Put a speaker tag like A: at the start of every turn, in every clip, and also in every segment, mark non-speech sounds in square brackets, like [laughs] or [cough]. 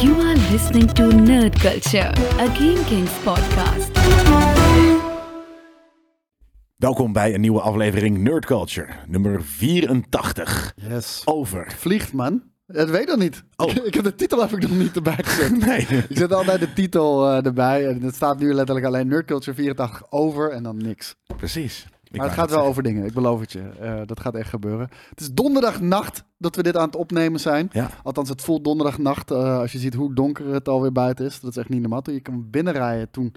A: You are listening to Nerd Culture, a Game Kings podcast.
B: Welkom bij een nieuwe aflevering Nerd Culture, nummer 84.
C: Yes. [laughs]
B: Over.
C: Oh, Vliegt, man. Dat weet ik nog niet.
B: Oh.
C: [laughs] Ik, ik heb de titel heb ik nog niet erbij
B: [laughs]
C: gezet.
B: Nee.
C: Ik zet altijd de titel eh, erbij. En het staat nu letterlijk alleen Nerd Culture 84 over en dan niks.
B: Precies. Ik
C: maar
B: wou
C: het
B: net
C: gaat wel over dingen, ik beloof het je. Eh, dat gaat echt gebeuren. Het is donderdagnacht dat we dit aan het opnemen zijn.
B: Ja.
C: Althans, het voelt donderdagnacht eh, als je ziet hoe donker het alweer buiten is. Dat is echt niet normaal. Toen je kwam binnenrijden, toen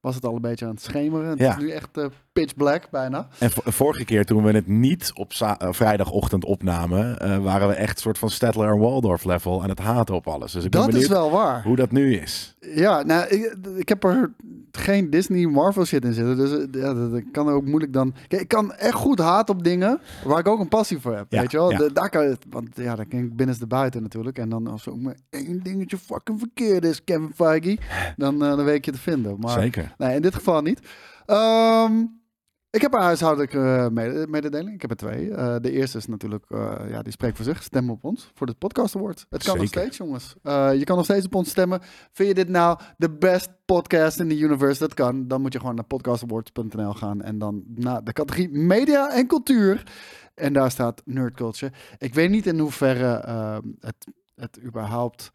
C: was het al een beetje aan het schemeren. Het
B: Ja.
C: is nu echt eh, pitch black bijna.
B: En vo- vorige keer toen we het niet op za- eh, vrijdagochtend opnamen, eh, waren we echt soort van Stedtler en Waldorf level aan het haten op alles. Dus ik ben
C: Dat is
B: benieuwd
C: wel waar.
B: hoe dat nu is.
C: Ja, nou, ik, ik heb er geen Disney Marvel shit in zitten. Dus eh, ja, dat, ik kan er ook moeilijk dan. Kijk, ik kan echt goed haat op dingen waar ik ook een passie voor heb.
B: Ja,
C: weet je wel?
B: ja.
C: De- daar kan het, want ja, dan ken ik binnenste buiten natuurlijk. En dan als er ook maar één dingetje fucking verkeerd is, Kevin Feige, dan, eh, dan weet ik je te vinden. Maar
B: Zeker.
C: nee, in dit geval niet. Ehm, ik heb een huishoudelijke eh, mede- mededeling. Ik heb er twee. Eh, de eerste is natuurlijk, eh, ja, die spreekt voor zich. Stem op ons voor het Podcast Award. Het kan nog
B: Zeker.
C: steeds, jongens. Eh, je kan nog steeds op ons stemmen. Vind je dit nou de best podcast in the universe? Dat kan. Dan moet je gewoon naar podcastawards.nl gaan. En dan naar de categorie media en cultuur. En daar staat nerd culture. Ik weet niet in hoeverre eh, het, het überhaupt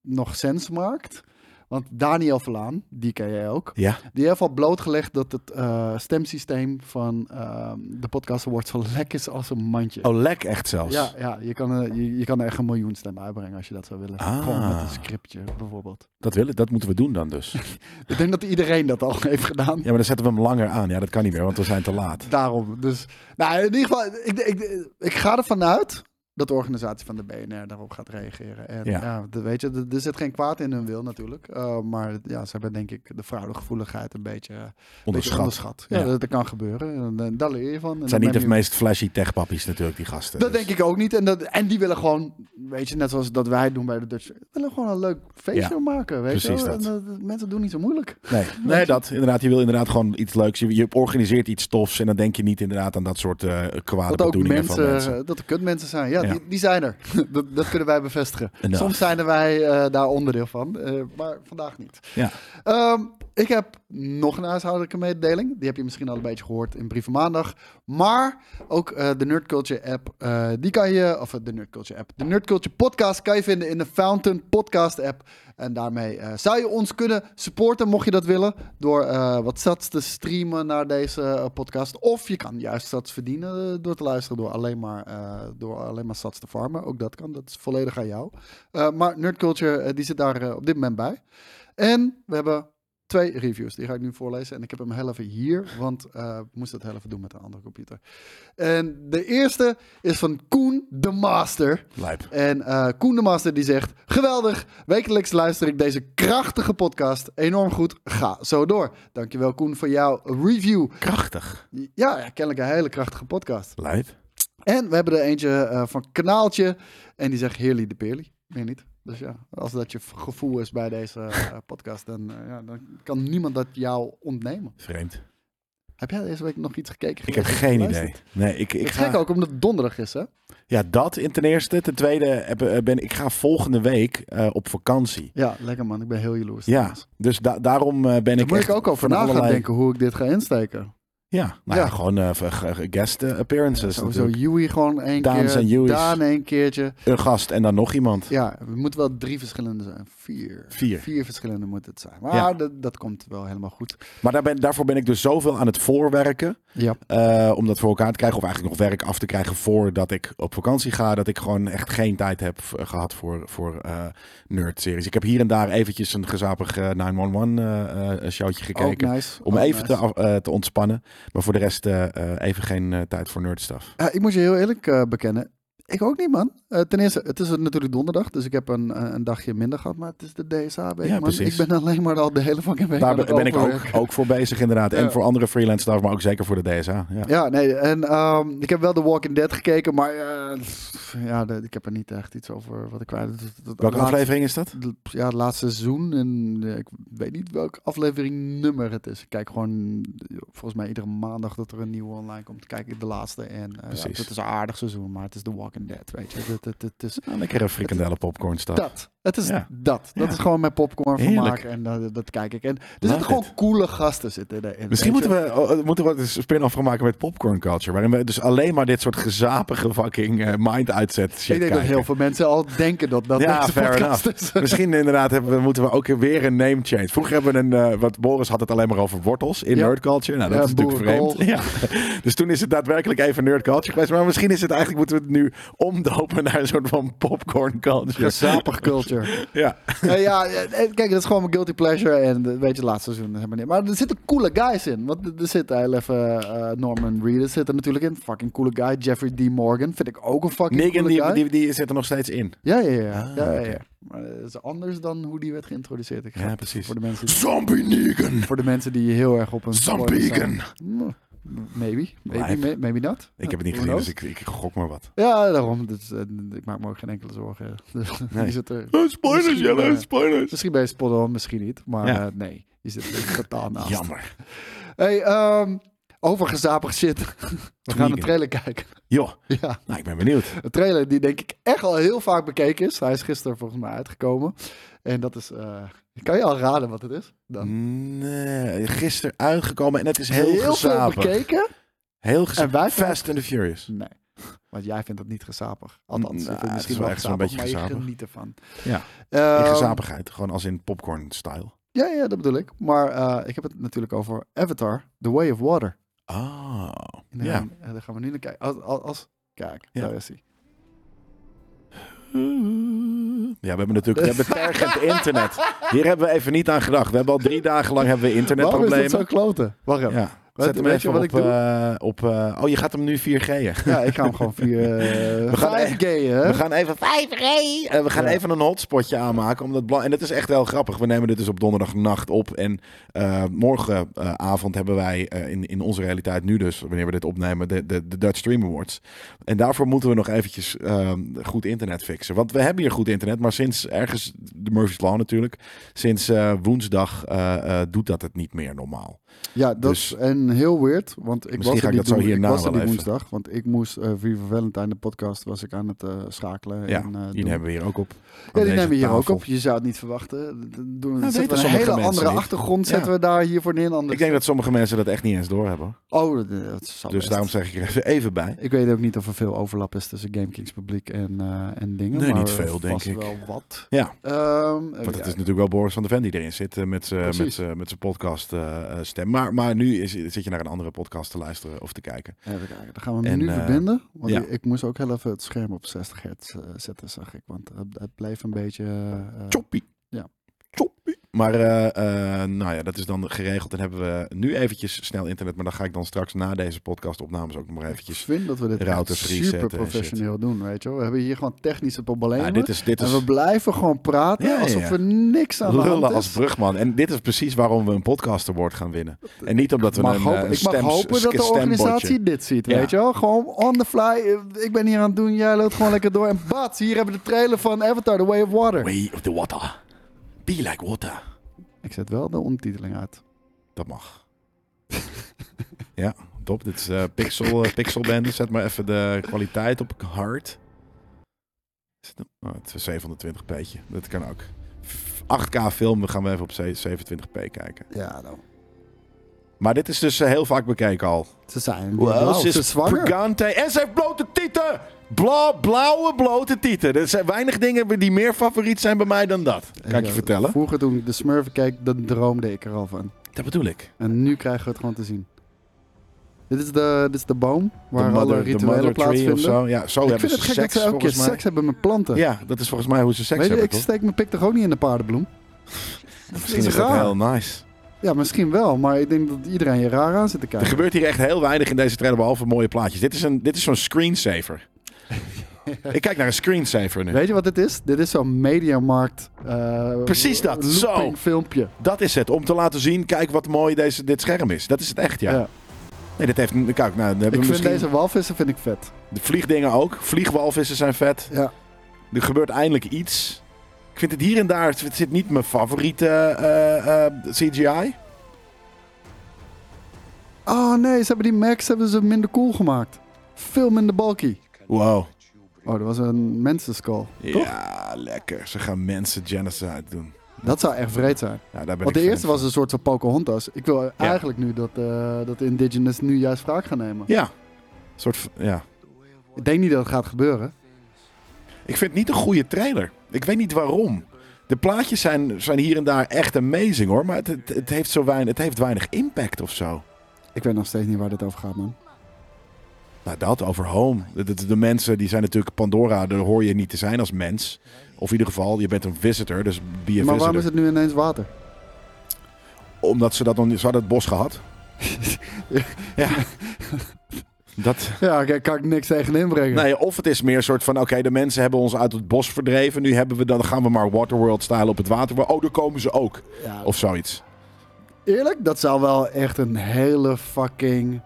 C: nog sens maakt. Want Daniel Verlaan, die ken jij ook.
B: Ja.
C: Die heeft al blootgelegd dat het eh, stemsysteem van ehm, de podcast Awards zo lek is als een mandje.
B: Oh, lek echt zelfs.
C: Ja, ja je, kan, eh, je, je kan er echt een miljoen stemmen uitbrengen als je dat zou willen.
B: Ah.
C: Gewoon met een scriptje bijvoorbeeld.
B: Dat, willen, dat moeten we doen dan dus.
C: [laughs] Ik denk dat iedereen dat al heeft gedaan.
B: Ja, maar dan zetten we hem langer aan. Ja, dat kan niet meer, want we zijn te laat.
C: Daarom. Dus nou, in ieder geval, ik, ik, ik ga ervan uit dat de organisatie van de BNR daarop gaat reageren. En
B: Ja.
C: ja, dat- weet je, er- er zit geen kwaad in hun wil natuurlijk. Eh, maar ja, ze hebben denk ik de vrouwengevoeligheid een beetje eh, beetje
B: Onderschat.
C: onderschat. Ja,
B: Ja.
C: Dat, dat kan gebeuren. En, eh, daar leer je van. En
B: Het
C: dan
B: zijn niet
C: neem
B: de
C: je-
B: meest flashy techpappies natuurlijk, die gasten.
C: Dat
B: Dus-
C: denk ik ook niet. En, dat, en die willen gewoon, weet je, net zoals dat wij doen bij de Dutch, willen gewoon een leuk feestje
B: Ja,
C: maken. Weet je?
B: precies
C: wel.
B: dat.
C: En, eh, mensen doen niet zo moeilijk.
B: Nee, [laughs] nee dat inderdaad. Je wil inderdaad gewoon iets leuks. Je, je organiseert iets tofs en dan denk je niet inderdaad aan dat soort eh kwade
C: Dat ook
B: bedoelingen
C: mensen,
B: van mensen.
C: dat er kutmensen zijn. Ja,
B: Ja.
C: Die, die zijn er. [laughs] dat, dat kunnen wij bevestigen.
B: Enough.
C: Soms zijn er wij eh, daar onderdeel van, eh, maar vandaag niet.
B: Ja.
C: Ehm, ik heb nog een huishoudelijke mededeling. Die heb je misschien al een beetje gehoord in Brieven Maandag. Maar ook eh, de Nerd Culture app, eh, die kan je, of eh, de Nerd Culture app, de Nerd Culture podcast kan je vinden in de Fountain podcast app. En daarmee eh, zou je ons kunnen supporten, mocht je dat willen, door eh, wat sats te streamen naar deze eh, podcast. Of je kan juist sats verdienen eh, door te luisteren, door alleen maar, eh, door alleen maar sats te farmen. Ook dat kan, dat is volledig aan jou. Eh, maar Nerd Culture, eh, die zit daar eh, op dit moment bij. En we hebben twee reviews. Die ga ik nu voorlezen. En ik heb hem heel even hier, want eh ik moest dat heel even doen met een andere computer. En de eerste is van Koen de Master.
B: Lijp.
C: En eh, Koen de Master die zegt... Geweldig, wekelijks luister ik deze krachtige podcast. Enorm goed, ga zo door. Dankjewel Koen voor jouw review.
B: Krachtig.
C: Ja, ja, kennelijk een hele krachtige podcast.
B: Lijp.
C: En we hebben er eentje eh, van Kanaaltje. En die zegt Heerly de Peerly. Meer niet. Dus ja, als dat je gevoel is bij deze
B: [laughs]
C: eh, podcast, dan, eh, ja, dan kan niemand dat jou ontnemen.
B: Vreemd.
C: Heb jij deze week nog iets gekeken?
B: Ik heb
C: gelezen,
B: geen
C: geluisterd?
B: idee. Nee, ik, ik
C: Het is gek
B: ga...
C: ook omdat het donderdag is, hè?
B: Ja, dat in ten eerste. Ten tweede heb- eh, ben ik ga volgende week eh, op vakantie.
C: Ja, lekker man. Ik ben heel jaloers.
B: Ja,
C: trouwens.
B: dus da- daarom eh, ben
C: Daar
B: ik
C: moet
B: echt
C: ik ook over
B: van
C: na gaan
B: allerlei-
C: denken hoe ik dit ga insteken.
B: Ja, nou ja,
C: Ja.
B: gewoon eh, v- g- g- guest eh, appearances
C: Sowieso
B: natuurlijk.
C: Yui gewoon één
B: Daans
C: keer.
B: en Yui's.
C: Daan één keertje.
B: Een gast en dan nog iemand.
C: Ja, het moet wel drie verschillende zijn. Vier.
B: Vier.
C: Vier verschillende moet het zijn. Maar
B: Ja.
C: dat, dat komt wel helemaal goed.
B: Maar daar ben, daarvoor ben ik dus zoveel aan het voorwerken.
C: Ja.
B: eh, om dat voor elkaar te krijgen. Of eigenlijk nog werk af te krijgen voordat ik op vakantie ga. Dat ik gewoon echt geen tijd heb v- gehad voor, voor eh nerd-series. Ik heb hier en daar eventjes een gezapig eh, 911-showtje eh, gekeken.
C: Ook nice.
B: Om
C: Ook
B: even te,
C: nice.
B: af- eh, te ontspannen. Maar voor de rest eh, eh, even geen eh, tijd voor nerdstuff.
C: Ja, ik moet je heel eerlijk eh, bekennen. Ik ook niet, man. Eh, ten eerste, het is natuurlijk donderdag, dus ik heb een, eh, een dagje minder gehad. Maar het is de DSA-week,
B: Ja,
C: man.
B: precies.
C: Ik ben alleen maar al de hele fucking week
B: Daar
C: aan
B: ben,
C: het
B: ben ik ook,
C: overwerken.
B: ook voor bezig inderdaad. En
C: Ja.
B: voor andere freelance stuff, maar ook zeker voor de DSA. Ja.
C: Ja, nee. En ehm, ik heb wel The Walking Dead gekeken, maar eh, pff, ja, de- ik heb er niet echt iets over wat ik kwijt. Dat- dat- dat-
B: Welke
C: laat-
B: aflevering is dat?
C: de- Ja, het laatste seizoen. En eh, ik weet niet welk aflevering nummer het is. Ik kijk gewoon, eh, volgens mij iedere maandag dat er een nieuwe online komt, kijk ik de laatste. En eh, ja,
B: Precies.
C: het is een aardig seizoen, maar het is The Walking Dead, weet je. Het, het, het, het is
B: Een lekkere Nou, frikandelle popcorn stuff.
C: dat. Het is
B: Ja.
C: dat. Dat
B: Ja.
C: is gewoon mijn popcorn
B: Heerlijk.
C: vermaak en eh, dat kijk ik. En er zitten
B: it.
C: gewoon coole gasten zitten erin.
B: Misschien
C: weet je.
B: moeten we, oh, oh, moeten we wat een spin-off gaan maken met Popcorn Culture. Waarin we dus alleen maar dit soort gezapige fucking eh, mind-uitzet shit
C: Ik denk
B: kijken.
C: dat heel veel mensen al denken dat dat
B: Ja,
C: deze
B: fair
C: podcast
B: enough. [laughs]
C: is.
B: Misschien inderdaad hebben we, moeten we ook weer een name change. Vroeger hebben we een, eh, wat Boris had het alleen maar over wortels in
C: Ja.
B: nerd culture. Nou, dat
C: Ja,
B: is natuurlijk
C: boerenkool.
B: vreemd. Ja. Dus toen is het daadwerkelijk even nerd culture geweest. Maar misschien is het eigenlijk, moeten we het nu omdopen naar een soort van popcorn culture.
C: Gezapig culture.
B: Ja.
C: Eh, ja, eh, eh, kijk, dat is gewoon mijn guilty pleasure. En eh, weet je, laatste seizoen. zeg maar niet. Maar er zitten coole guys in. Want er- er zit heel even eh, Norman Reedus zit er natuurlijk in. Fucking coole guy. Jeffrey D. Morgan vind ik ook een fucking
B: Negan,
C: coole
B: die,
C: guy.
B: die, die zit er nog steeds in.
C: Ja, ja, ja.
B: Ah,
C: ja, ja, ja.
B: oké.
C: Maar dat is anders dan hoe die werd geïntroduceerd. Ik ga
B: Ja, precies.
C: Voor de mensen die,
B: Zombie Negan!
C: voor de mensen die heel erg op een... spoiler zijn.
B: Zambigan!
C: Mm, Maybe, maybe,
B: Live.
C: may- maybe not.
B: Ik heb het niet gezien,
C: Who knows?
B: dus ik, ik gok maar wat.
C: Ja, daarom. Dus, eh, ik maak me ook geen enkele zorgen. [laughs] Dus, Die
B: Nee.
C: zit er...
B: spoilers,
C: Misschien, Jelle, eh,
B: Jelle, spoilers.
C: Misschien ben je spot on, misschien niet. Maar
B: Ja.
C: eh, nee, je zit er totaal naast.
B: Jammer.
C: Hey, ehm, over gezapig shit. [laughs] We gaan een
B: Tweaken.
C: trailer kijken. [laughs]
B: Joh,
C: ja,
B: nou, ik ben benieuwd.
C: een trailer die denk ik echt al heel vaak bekeken is. Hij is gisteren volgens mij uitgekomen. En dat is... eh, kan je al raden wat het is?
B: Mm.
C: Dan.
B: Nee, gisteren uitgekomen en het is heel,
C: veel
B: gezapig.
C: bekeken?
B: Heel
C: En wij
B: gezapig. Fast and the Furious.
C: Nee. Want jij vindt het niet gezapig. Althans, ik
B: Nou, het
C: vind het
B: is
C: misschien
B: wel
C: wel
B: echt zo'n beetje
C: gezapig, maar je
B: gezapig.
C: geniet ervan.
B: Ja.
C: Ehm,
B: in gezapigheid, gewoon als in popcorn-style.
C: Ja, ja, dat bedoel ik. Maar eh, ik heb het natuurlijk over Avatar, The Way of Water.
B: Oh,
C: En daar,
B: ja.
C: eh, daar gaan we nu naar kijken. Als, als, als- kijk,
B: Ja.
C: daar is hij.
B: Ja, we hebben natuurlijk we hebben
C: [laughs]
B: tergend internet. Hier hebben we even niet aan gedacht. We hebben al drie dagen lang hebben we
C: Waarom is dat
B: internetproblemen.
C: zo kloten? Wacht even. Ja.
B: Ja. Zet hem
C: weet je
B: even
C: wat
B: op...
C: ik doe?
B: eh, op eh, oh, je gaat hem nu 4G'en.
C: ik ga hem gewoon
B: [laughs]
C: via... eh,
B: We gaan
C: vijf
B: echt-
C: gayen, hè?
B: We gaan even 5G. eh, we gaan
C: Ja.
B: even een hotspotje aanmaken. Omdat bla- en dat is echt heel grappig. We nemen dit dus op donderdagnacht op. En eh, morgenavond hebben wij eh, in, in onze realiteit nu dus, wanneer we dit opnemen, de, de, de Dutch Stream Awards. En daarvoor moeten we nog eventjes ehm, goed internet fixen. Want we hebben hier goed internet, maar sinds ergens, de Murphy's Law natuurlijk, sinds eh, woensdag eh, eh, doet dat het niet meer normaal.
C: Ja, dat
B: Dus-
C: is en heel weird, want ik
B: Misschien
C: was
B: ga
C: er
B: ik
C: die,
B: dat zo
C: doe-
B: hierna
C: ik was er
B: wel
C: die
B: even.
C: woensdag, want ik moest eh Viva Valentine, de podcast, was ik aan het eh, schakelen.
B: Ja,
C: en, eh,
B: die
C: doen.
B: nemen we hier ook op.
C: Ja,
B: Aan
C: die
B: deze
C: nemen we hier ook
B: tafel.
C: op. Je zou het niet verwachten. D- Doen,
B: Nou, weten
C: zetten we een
B: sommige
C: hele
B: mensen
C: andere
B: niet.
C: achtergrond zetten
B: Ja.
C: we daar hiervoor neer. Anders...
B: Ik denk dat sommige mensen dat echt niet eens doorhebben.
C: Oh, dat- dat zal
B: Dus
C: best.
B: daarom zeg ik er even- even bij.
C: Ik weet ook niet of er veel overlap is tussen GameKings publiek en, eh, en dingen.
B: Nee,
C: maar
B: niet veel, denk
C: vast
B: ik.
C: wel wat.
B: Ja.
C: Ehm, even
B: Want het is
C: kijken.
B: natuurlijk wel Boris van der Ven die erin zit eh, met zijn
C: Precies.
B: met z'n- met zijn podcast eh, eh, stem. Maar, maar nu is, zit je naar een andere podcast te luisteren of te kijken.
C: Even kijken, dan gaan we hem
B: En,
C: nu
B: eh,
C: verbinden. Want
B: ja.
C: ik, ik moest ook heel even het scherm op 60 hertz eh, zetten, zag ik. Want het, het bleef een beetje... eh,
B: Choppie.
C: Ja.
B: Choppie. Maar eh, eh, nou ja, dat is dan geregeld. En hebben we nu eventjes snel internet. Maar dan ga ik dan straks na deze podcastopnames ook nog maar
C: ik
B: eventjes.
C: vind dat we dit echt
B: routers resetten
C: super
B: en
C: professioneel doen, weet je wel. We hebben hier gewoon technische problemen.
B: Ja, dit is, dit is
C: En we blijven gewoon praten
B: Dus- Ja, ja, ja.
C: alsof er niks aan de hand
B: lullen
C: is.
B: als brugman. En dit is precies waarom we een podcast award gaan winnen. En niet omdat we
C: Ik mag,
B: een, eh,
C: hopen,
B: een
C: ik mag
B: stems-
C: hopen dat de
B: stembotje-
C: organisatie dit ziet,
B: Ja.
C: weet je wel? Gewoon on the fly. eh, Ik ben hier aan het doen, jij loopt gewoon lekker door. En bats, hier hebben we de trailer van Avatar, The Way of Water.
B: Way of the water. Be like water.
C: Ik zet wel de ondertiteling uit.
B: Dat mag. [laughs] ja, top. Dit is eh, Pixel, eh, Pixel Band. Zet maar even de kwaliteit op hard. Is het een- Oh, het is een 720p'tje. Dat kan ook. F- 8K filmen gaan we even op ze- 720p kijken.
C: Ja, nou.
B: Maar dit is dus eh, heel vaak bekeken al.
C: Ze zijn
B: Wow,
C: blauw,
B: ze
C: ze
B: is
C: zwanger.
B: pregante en ze heeft blote tieten! Bla, blauwe blote tieten. Er zijn weinig dingen die meer favoriet zijn bij mij dan dat. Kan ik je
C: Ja,
B: vertellen?
C: Vroeger toen ik de Smurf keek, dan droomde ik er al van.
B: Dat bedoel ik.
C: En nu krijgen we het gewoon te zien. Dit is de, dit is de boom waar
B: de
C: alle
B: mother, de
C: rituelen
B: mother tree of
C: plaatsvinden.
B: zo. Ja, zo
C: Ik
B: hebben
C: vind het
B: ze
C: gek dat
B: seks
C: ze elke keer
B: volgens mij.
C: seks hebben met planten.
B: Ja, dat is volgens mij hoe ze seks
C: Weet je,
B: hebben,
C: ik
B: toch?
C: steek mijn pik toch ook niet in de paardenbloem?
B: Misschien
C: is
B: is dat
C: raar.
B: heel nice.
C: Ja, misschien wel, maar ik denk dat iedereen je raar aan zit te
B: Er
C: kijken.
B: gebeurt hier echt heel weinig in deze trailer, behalve mooie plaatjes. Dit is, een, dit is zo'n
C: [laughs]
B: screensaver. Ik kijk naar een screensaver nu.
C: Weet je wat dit is? Dit is zo'n mediamarkt. eh,
B: Precies dat,
C: looping
B: zo.
C: filmpje.
B: Dat is het, om te laten zien, kijk wat mooi deze, dit scherm is. Dat is het echt, ja.
C: Ja.
B: Nee, dit heeft... Kijk, nou, dan hebben we
C: Ik vind
B: misschien...
C: deze walvissen vind ik vet.
B: De vliegdingen ook. Vliegwalvissen zijn vet.
C: Ja.
B: Er gebeurt eindelijk iets. Ik vind het hier en daar... Het zit niet mijn favoriete eh, eh, CGI.
C: Oh nee, ze hebben die Max hebben ze minder cool gemaakt. Veel minder bulky.
B: Wow.
C: Oh, dat was een mensenskull. Toch?
B: Ja, lekker. Ze gaan mensen genocide doen.
C: Dat zou echt vreed zijn.
B: Ja, daar ben
C: Want
B: ik
C: de
B: fan
C: eerste was een soort van Pocahontas. Ik wil eigenlijk nu dat, eh, dat de indigenous nu juist wraak gaan nemen.
B: van. Ja. Een soort van- ja.
C: Ik denk niet dat het gaat gebeuren.
B: Ik vind het niet een goede trailer. Ik weet niet waarom. De plaatjes zijn, zijn hier en daar echt amazing hoor. Maar het, het, het heeft, zo weinig, het heeft weinig impact of zo.
C: Ik weet nog steeds niet waar dit over gaat, man.
B: Nou, dat over home. De, de, de mensen die zijn natuurlijk Pandora. Daar hoor je niet te zijn als mens. Of in ieder geval, je bent een visitor. Dus be a
C: maar waarom
B: visitor.
C: is het nu ineens water?
B: Omdat ze dat nog niet... Ze hadden het bos
C: [laughs]
B: gehad. ja. Dat...
C: Ja, daar kan ik niks tegen inbrengen.
B: Nee, of het is meer een soort van: oké, de mensen hebben ons uit het bos verdreven. Nu hebben we, dan gaan we maar Waterworld-stijl op het water. Maar, oh, daar komen ze ook.
C: Ja,
B: Of zoiets.
C: eerlijk, dat zou wel echt een hele fucking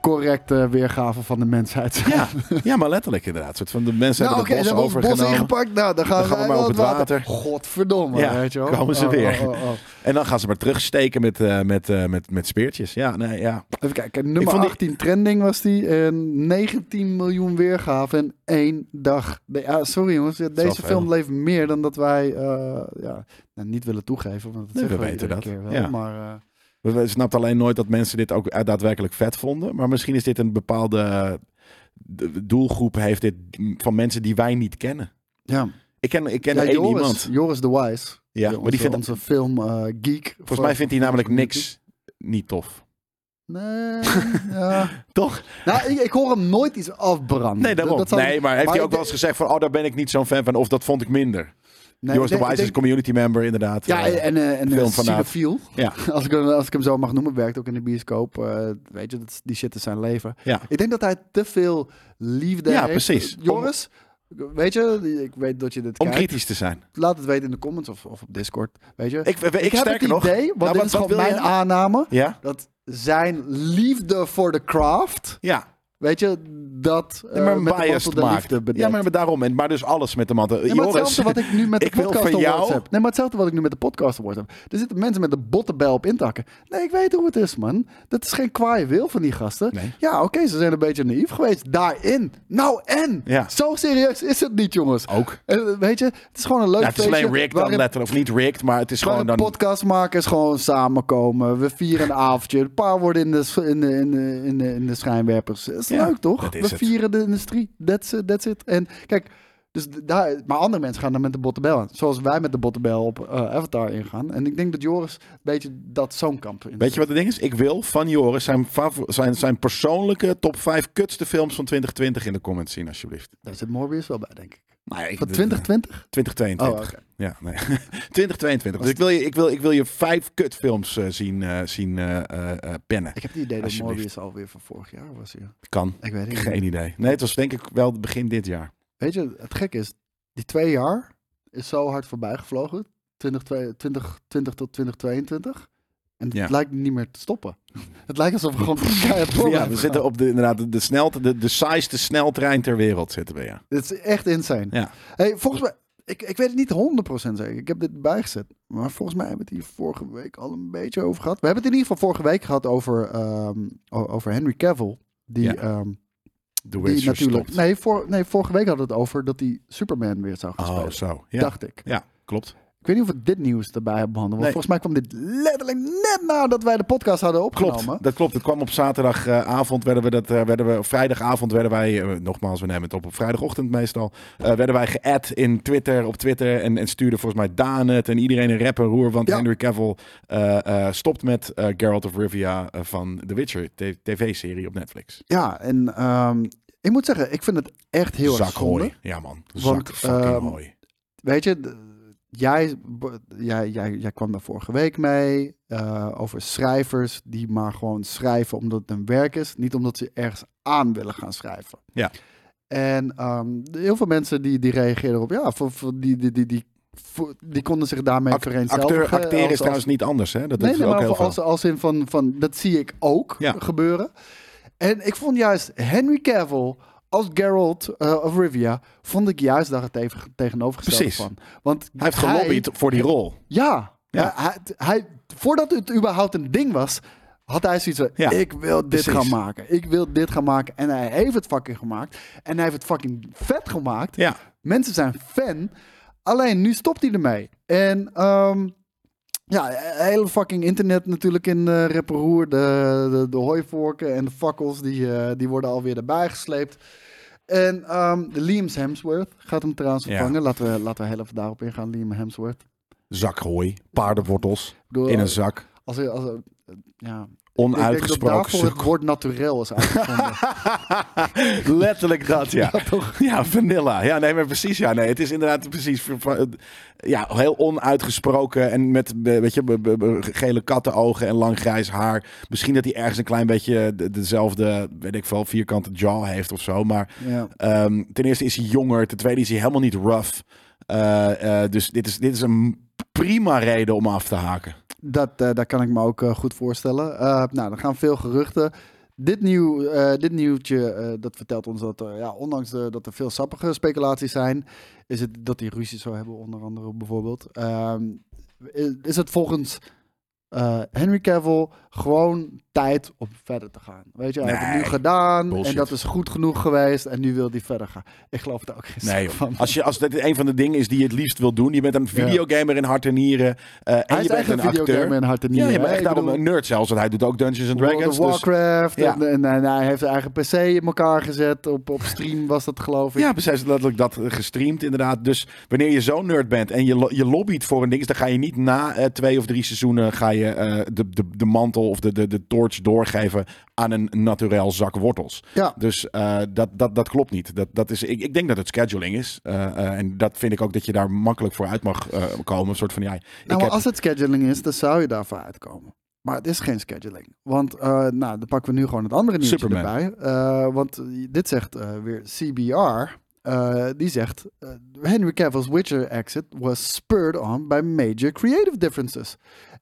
C: correcte weergave van de mensheid zijn.
B: Ja, ja maar letterlijk inderdaad. Een soort van de mensen
C: Nou, oké,
B: hebben
C: ze
B: het
C: hebben
B: bos
C: ons bos
B: overgenomen.
C: ingepakt. Nou, dan gaan,
B: Dan gaan we
C: wij
B: maar
C: wel
B: op het water.
C: Godverdomme,
B: Ja,
C: weet je wel.
B: komen ze
C: Oh,
B: weer.
C: oh, oh, oh.
B: en dan gaan ze maar terugsteken met, eh, met, eh, met, met speertjes. Ja, nee, ja.
C: Even kijken, nummer
B: vond die-
C: 18 trending was die. En 19 miljoen weergaven in één dag. De- ja, sorry jongens, ja,
B: wel
C: deze
B: veel.
C: film leeft meer dan dat wij eh, ja, nou, niet willen toegeven. Want dat
B: Nee,
C: zeggen
B: we
C: we
B: weten
C: iedere
B: dat.
C: keer wel.
B: Ja.
C: Maar eh,
B: We- We snapt alleen nooit dat mensen dit ook eh, daadwerkelijk vet vonden. Maar misschien is dit een bepaalde eh, d- doelgroep heeft dit mm, van mensen die wij niet kennen.
C: ja.
B: Ik ken, ik ken
C: Ja,
B: één
C: Joris,
B: iemand.
C: Joris de Wise.
B: Ja,
C: onze,
B: maar die vindt,
C: onze film eh, geek.
B: volgens mij vindt hij namelijk niks niet tof.
C: Nee, ja.
B: Toch?
C: Nou, ik, ik hoor hem nooit iets afbranden.
B: Nee, daarom.
C: Dat zou-
B: nee, maar heeft
C: maar
B: hij
C: ik
B: ook wel eens gezegd van... oh, daar ben ik niet zo'n fan van of dat vond ik minder.
C: nee,
B: Joris
C: ik
B: de
C: denk-
B: Wise is
C: ik denk-
B: community member inderdaad.
C: Ja,
B: Eh,
C: en, eh en
B: film
C: film
B: vanavond. Ja.
C: [laughs] Als, ik, hem- als ik hem zo mag noemen, werkt ook in de bioscoop. Eh, weet je, dat, is- die shit is zijn leven.
B: Ja.
C: Ik denk dat hij te veel liefde
B: Ja,
C: heeft.
B: precies.
C: Joris, weet je, ik weet dat je dit
B: om
C: kijkt.
B: kritisch te zijn.
C: Laat het weten in de comments of, of op Discord. Weet je,
B: Ik, ik, ik
C: heb het
B: sterker nog.
C: idee, want
B: Nou,
C: dit
B: wat-
C: is
B: wat
C: gewoon
B: wil
C: mijn
B: je?
C: aanname,
B: Ja?
C: dat zijn liefde voor de craft,
B: Ja,
C: weet je, dat eh,
B: nee, maar
C: met
B: een
C: de mantel
B: biased
C: de
B: maakt.
C: liefde bedekt.
B: Ja, maar daarom. En, maar dus alles met de matten.
C: Nee, maar
B: Joris,
C: hetzelfde wat ik
B: [laughs]
C: nu met de
B: ik wil
C: podcast
B: van
C: awards
B: jou- Nou,
C: heb. Nee, maar hetzelfde wat ik nu met de podcast awards heb. Er zitten mensen met de bottenbel op intakken. Nee, ik weet hoe het is, man. Dat is geen kwaaie wil van die gasten.
B: Nee.
C: Ja, oké, ze zijn een beetje naïef geweest daarin. Nou en?
B: Ja.
C: Zo serieus is het niet, jongens.
B: Ook.
C: En, weet je, het is gewoon een leuk
B: Ja, het is alleen
C: feestje
B: rigged dan
C: waarin-
B: letterlijk. Of niet rigged, maar het is gewoon
C: waarin
B: dan...
C: podcastmakers gewoon samenkomen. We vieren een avondje. Een paar worden in de, sch- in de, in de, in de, in de schijnwerpers. Dat is
B: Ja,
C: leuk, toch?
B: dat is
C: We
B: het.
C: vieren de industrie. That's it, that's it. En kijk, dus d- daar, maar andere mensen gaan dan met de bottebel aan. Zoals wij met de bottebel op eh, Avatar ingaan. En ik denk dat Joris een beetje dat zo'n kamp in
B: Weet je wat het ding is? Ik wil van Joris zijn, favo- zijn, zijn persoonlijke top 5 kutste films van 2020 in de comments zien, alsjeblieft.
C: Daar zit Morbius wel bij, denk ik.
B: Nou, ja, ik-
C: Van 2020?
B: 2022.
C: Oh, oké.
B: Ja, nee. [laughs] 2022. Dus ik wil, je, ik, wil, ik wil je vijf kutfilms eh, zien, eh, zien eh, eh, eh, pennen.
C: Ik heb het idee dat
B: Alsjeblieft.
C: Morbius alweer van vorig jaar was hier.
B: Kan.
C: Ik weet het niet.
B: Geen idee. Nee, het was denk ik wel begin dit jaar.
C: Weet je, het gek is, die twee jaar is zo hard voorbij gevlogen. 2020 tot 2022. En het
B: Ja.
C: lijkt niet meer te
B: [laughs]
C: stoppen. Het lijkt alsof we gewoon keihard
B: Ja,
C: door
B: we
C: blijven
B: zitten
C: gaan.
B: op de, inderdaad, de, de, snel, de, de saaiste sneltrein ter wereld zitten we, ja.
C: Het is echt insane.
B: Ja.
C: Hey, volgens mij, ik, ik weet het niet 100% zeker. Ik heb dit bijgezet. Maar volgens mij hebben we het hier vorige week al een beetje over gehad. We hebben het in ieder geval vorige week gehad over, ehm, o- over Henry Cavill. Die,
B: Ja.
C: ehm,
B: De
C: die
B: Witcher
C: natuurlijk.
B: stopt.
C: Nee, voor, nee, vorige week hadden we het over dat hij Superman weer zou gaan
B: Oh,
C: spelen.
B: zo. Ja,
C: Dacht ik.
B: ja klopt.
C: Ik weet niet of we dit nieuws erbij hebben behandeld. Want
B: Nee.
C: volgens mij kwam dit letterlijk net nadat wij de podcast hadden opgenomen.
B: Klopt, dat klopt. Het kwam op zaterdagavond, werden we dat, eh, werden we, op vrijdagavond werden wij, eh, nogmaals, we nemen het op op vrijdagochtend meestal, eh, werden wij geadd in Twitter, op Twitter en, en stuurde volgens mij Daan het en iedereen een rep en roer, want
C: Ja.
B: Henry Cavill eh, eh, stopt met eh, Geralt of Rivia eh, van The Witcher, t- tv-serie op Netflix.
C: Ja, en ehm, ik moet zeggen, ik vind het echt heel erg
B: Zak
C: zonde.
B: hooi. Ja man,
C: Want,
B: zak fucking
C: ehm,
B: hooi.
C: Weet je, d- jij, b- jij, jij, jij kwam daar vorige week mee eh, over schrijvers die maar gewoon schrijven omdat het een werk is. Niet omdat ze ergens aan willen gaan schrijven.
B: Ja.
C: En ehm, heel veel mensen die, die reageerden op, ja, voor, voor die, die, die, die, voor- die konden zich daarmee
B: Act-
C: vereenzelvigen.
B: acteur, acteren
C: als-
B: is
C: als-
B: trouwens niet anders, hè? Dat
C: nee,
B: is
C: nee,
B: ook
C: maar
B: heel
C: als,
B: veel.
C: als, als in van, van dat zie ik ook
B: Ja.
C: gebeuren. En ik vond juist Henry Cavill als Geralt eh, of Rivia vond ik juist daar het tegen- tegenovergestelde
B: Precies.
C: van. Want
B: Hij heeft gelobbyd voor die rol.
C: Ja,
B: Ja.
C: Hij, hij- voordat het überhaupt een ding was, had hij zoiets van,
B: Ja,
C: ik wil dit
B: precies.
C: gaan maken. Ik wil dit gaan maken. En hij heeft het fucking gemaakt. En hij heeft het fucking vet gemaakt.
B: Ja.
C: Mensen zijn fan. Alleen nu stopt hij ermee. En ehm ja, hele fucking internet natuurlijk in eh rep en roer. De, de, de hooivorken en de fakkels, die, eh, die worden alweer erbij gesleept. En ehm Liam Hemsworth gaat hem trouwens
B: Ja.
C: vervangen. Laten, we, laten we heel even daarop ingaan, Liam Hemsworth. Ik
B: Zakhooi, paardenwortels
C: bedoel,
B: in een zak.
C: als, als, als, ja,
B: Onuitgesproken
C: Ik denk dat daarvoor het woord naturel is
B: [laughs]
C: uitgevonden.
B: Letterlijk dat, ja.
C: Ja, toch?
B: Ja, vanilla. Ja, nee, maar precies. Ja, nee, het is inderdaad precies. ver- ver- Ja, heel onuitgesproken en met, eh, weet je, be- be- be- gele kattenogen en lang grijs haar. Misschien dat hij ergens een klein beetje de- dezelfde, weet ik veel, vierkante jaw heeft of zo. Maar
C: ja.
B: Ehm, ten eerste is hij jonger. Ten tweede is hij helemaal niet rough. Eh, eh, dus dit is, dit is een prima reden om af te haken.
C: Dat, eh, daar kan ik me ook eh, goed voorstellen. Eh, nou, er gaan veel geruchten. Dit, nieuw, eh, dit nieuwtje, eh, dat vertelt ons dat, eh, ja, ondanks eh, dat er veel sappige speculaties zijn, is het dat die ruzie zou hebben, onder andere bijvoorbeeld. Ehm, is, is het volgens eh, Henry Cavill gewoon tijd om verder te gaan? Weet je, hij heeft het nu
B: Nee,
C: gedaan
B: bullshit.
C: en dat is goed genoeg geweest en nu wil hij verder gaan. Ik geloof daar ook geen
B: Nee,
C: zak van.
B: als, je, als dit een van de dingen is die je het liefst wil doen. Je bent een videogamer in hart en nieren. eh, en
C: Hij
B: je
C: is
B: bent
C: echt
B: een
C: een
B: acteur.
C: videogamer in hart en
B: ja,
C: nieren.
B: je bent
C: hè?
B: echt
C: Ik
B: daarom
C: bedoel-
B: een nerd zelfs. Want hij doet ook Dungeons and Dragons.
C: World of
B: dus-
C: Warcraft.
B: ja.
C: En, en, en hij heeft zijn eigen PC in elkaar gezet. Op, op stream was dat geloof ik.
B: ja, precies. Letterlijk dat eh, gestreamd inderdaad. Dus wanneer je zo'n nerd bent en je, lo- je lobbyt voor een ding... dan ga je niet na eh, twee of drie seizoenen... ga je eh, de, de, de mantel of de, de, de torch doorgeven aan een naturel zak wortels.
C: Ja.
B: Dus eh, dat, dat, dat klopt niet. Dat, dat is, ik, ik denk dat het scheduling is. Eh, eh, en dat vind ik ook dat je daar makkelijk voor uit mag eh, komen. Een soort van, ja, ik
C: Nou, maar
B: heb-
C: als het scheduling is, dan zou je daarvoor uitkomen. Maar het is geen scheduling. Want eh, nou, dan pakken we nu gewoon het andere nieuwtje
B: Superman.
C: erbij. Eh, want dit zegt eh, weer CBR. Eh, die zegt, eh, Henry Cavill's Witcher exit was spurred on by major creative differences.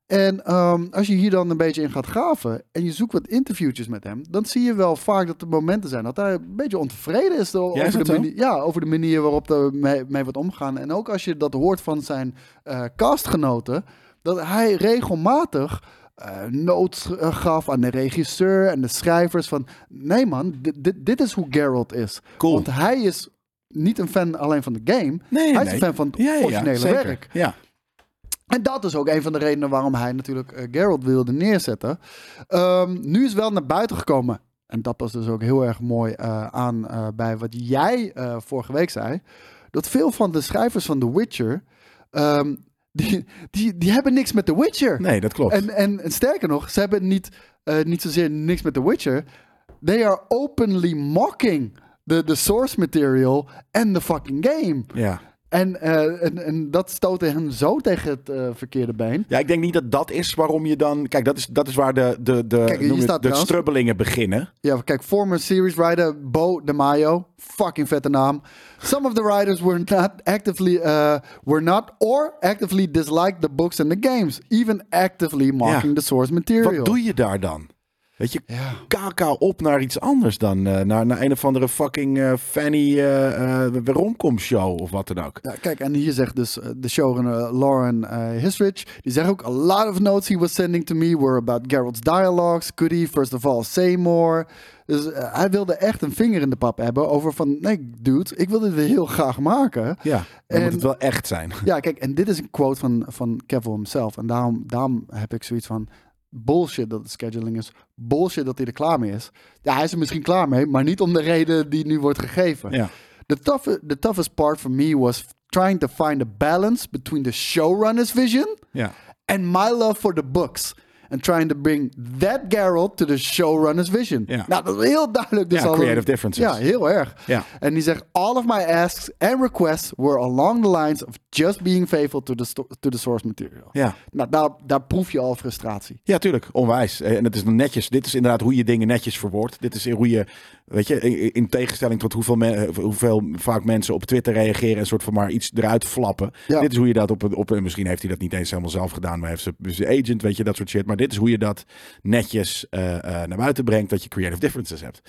C: En ehm, als je hier dan een beetje in gaat graven en je zoekt wat interviewtjes met hem, dan zie je wel vaak dat er momenten zijn dat hij een beetje ontevreden is door-
B: is
C: over,
B: dat
C: de
B: zo?
C: manier, ja, over de manier waarop er mee, mee wordt omgegaan. En ook als je dat hoort van zijn eh, castgenoten, dat hij regelmatig eh nood eh, gaf aan de regisseur en de schrijvers van, nee man, dit- dit- dit is hoe Geralt is.
B: Cool.
C: Want hij is niet een fan alleen van de game,
B: Nee,
C: hij is
B: nee.
C: een fan van het
B: ja, ja, ja,
C: originele
B: zeker.
C: werk.
B: Ja.
C: En dat is ook een van de redenen waarom hij natuurlijk eh, Geralt wilde neerzetten. Ehm, nu is wel naar buiten gekomen. En dat was dus ook heel erg mooi eh, aan eh, bij wat jij eh, vorige week zei. Dat veel van de schrijvers van The Witcher. ehm, die, die, die hebben niks met The Witcher.
B: Nee, dat klopt.
C: En, en, en sterker nog, ze hebben niet, eh, niet zozeer niks met The Witcher. They are openly mocking the, the source material en the fucking game.
B: ja.
C: En, eh, en, en dat stootte hem zo tegen het eh, verkeerde been.
B: ja, ik denk niet dat dat is waarom je dan... Kijk, dat is, dat is waar de, de, de,
C: hier
B: noem je het,
C: staat
B: de
C: trouwens-
B: strubbelingen beginnen.
C: Ja, kijk, former series writer Bo de Mayo, fucking vette naam. Some of the writers were not actively, eh, were not or actively disliked the books and the games, even actively mocking
B: Ja.
C: the source material.
B: Wat doe je daar dan? Weet je,
C: Ja.
B: kaka op naar iets anders dan eh, naar, naar een of andere fucking eh, Fanny eh eh, romcom show of wat dan ook.
C: Ja, kijk, en hier zegt dus eh, de showrunner Lauren eh Hisrich, die zegt ook, a lot of notes he was sending to me were about Geralt's dialogues, could he first of all say more? Dus eh, hij wilde echt een vinger in de pap hebben over van, nee dude, ik wil dit heel graag maken.
B: Ja, dan
C: En-
B: moet het wel echt zijn. [laughs]
C: [laughs] Ja, kijk, en dit is een quote van, van Cavill himself. En daarom, daarom heb ik zoiets van... Bullshit dat het scheduling is. Bullshit dat hij er klaar mee is. Ja, hij is er misschien klaar mee, maar niet om de reden die nu wordt gegeven.
B: Ja.
C: The, tough, the toughest part for me was trying to find a balance between the showrunner's vision
B: Ja.
C: and my love for the books. And trying to bring that Geralt to the showrunner's vision.
B: Ja.
C: Nou, dat is heel duidelijk. Dus
B: Ja,
C: al een-
B: creative differences.
C: Ja, heel erg.
B: Ja.
C: En die zegt, all of my asks and requests were along the lines of just being faithful to the, sto- to the source material.
B: Ja.
C: Nou, daar, daar proef je al frustratie.
B: Ja, tuurlijk. Onwijs. Eh, En het is netjes. Dit is inderdaad hoe je dingen netjes verwoordt. Dit is hoe je, weet je, in- in tegenstelling tot hoeveel, me- eh, hoeveel vaak mensen op Twitter reageren en soort van maar iets eruit flappen.
C: Ja.
B: Dit is hoe je dat op, een- op, een- misschien heeft hij dat niet eens helemaal zelf gedaan, maar heeft ze- zijn agent, weet je, dat soort shit. Maar dit is hoe je dat netjes eh, eh, naar buiten brengt, dat je creative differences hebt.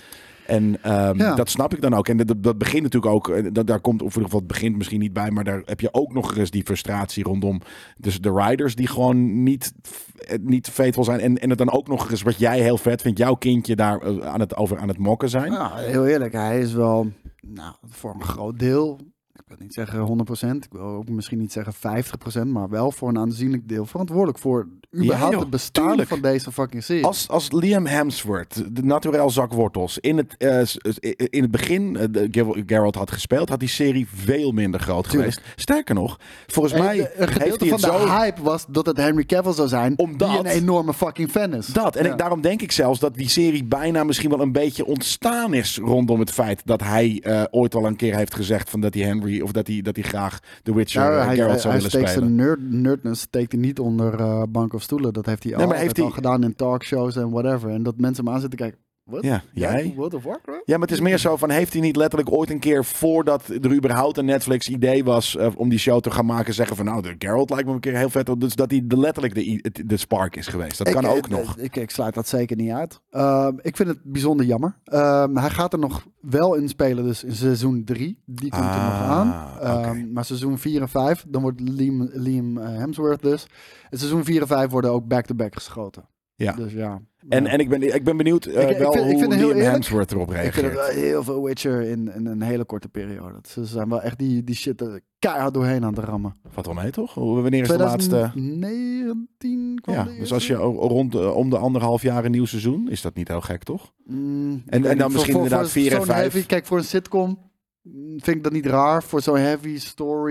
B: En ehm,
C: Ja.
B: dat snap ik dan ook. En dat, dat begint natuurlijk ook, eh, dat, daar komt, of in ieder geval het begint misschien niet bij, maar daar heb je ook nog eens die frustratie rondom dus de riders die gewoon niet, eh, niet faithful zijn. En, en het dan ook nog eens, wat jij heel vet vindt, jouw kindje daar eh, aan het, over aan het mokken zijn.
C: Nou, heel eerlijk, hij is wel nou, voor een groot deel. Ik wil niet zeggen 100%, ik wil ook misschien niet zeggen 50%, maar wel voor een aanzienlijk deel verantwoordelijk voor überhaupt
B: joh,
C: het bestaan
B: tuurlijk.
C: van deze fucking serie.
B: Als, als Liam Hemsworth, de naturel zak wortels, in het, eh, s- s- in het begin eh, de Ger- Geralt had gespeeld, had die serie veel minder groot
C: Tuurlijk.
B: geweest. Sterker nog, volgens
C: En
B: mij
C: de- een
B: heeft
C: gedeelte
B: hij
C: van
B: het
C: de
B: zo...
C: hype was dat het Henry Cavill zou zijn, die
B: Omdat-
C: een enorme fucking fan is.
B: Dat. En
C: Ja.
B: ik, daarom denk ik zelfs dat die serie bijna misschien wel een beetje ontstaan is rondom het feit dat hij eh, ooit al een keer heeft gezegd van dat hij Henry of dat hij, dat hij graag The Witcher
C: Ja,
B: eh,
C: hij,
B: Geralt
C: hij-
B: zou
C: hij
B: willen
C: steekt
B: spelen.
C: zijn nerd, nerdness steekt hij niet onder eh banken of stoelen. Dat heeft hij
B: Nee, maar
C: altijd
B: heeft
C: al
B: hij-
C: gedaan in talkshows en whatever. En dat mensen hem aan zitten kijken. Wat?
B: Ja, jij?
C: What the fuck, bro?
B: Ja, maar het is meer zo van, heeft hij niet letterlijk ooit een keer voordat er überhaupt een Netflix idee was eh, om die show te gaan maken, zeggen van nou, de Geralt lijkt me een keer heel vet. op. Dus dat hij de, letterlijk de, i- het- de spark is geweest. Dat kan
C: Ik-
B: ook
C: eh,
B: nog.
C: Ik, ik sluit dat zeker niet uit. Ehm, ik vind het bijzonder jammer. Ehm, hij gaat er nog wel in spelen, dus in seizoen 3. Die komt er nog
B: Ah,
C: aan. Ehm,
B: oké.
C: Maar seizoen 4 en 5, dan wordt Liam, Liam eh, Hemsworth dus. En seizoen 4 en 5 worden ook back-to-back geschoten.
B: Ja.
C: Dus ja.
B: En,
C: Ja.
B: en ik ben, ik ben benieuwd eh,
C: Ik- ik
B: wel
C: vind- ik
B: hoe
C: vind het heel
B: Liam
C: eerlijk.
B: Hemsworth erop
C: Ik vind er wel
B: reageert.
C: heel veel Witcher in, in een hele korte periode. Ze zijn wel echt die, die shit er keihard doorheen aan te rammen.
B: Wat wel mee toch? Hoe- Wanneer is de laatste?
C: 2019 kwam
B: Ja,
C: de
B: dus
C: eerste.
B: als je o- rond eh, om de anderhalf jaar een nieuw seizoen, is dat niet heel gek toch?
C: Mm, ik
B: en
C: weet
B: dan
C: niet.
B: misschien inderdaad vier en
C: zo'n
B: vijf.
C: heavy- kijk, voor een sitcom mm, vind ik dat niet raar. Voor zo'n heavy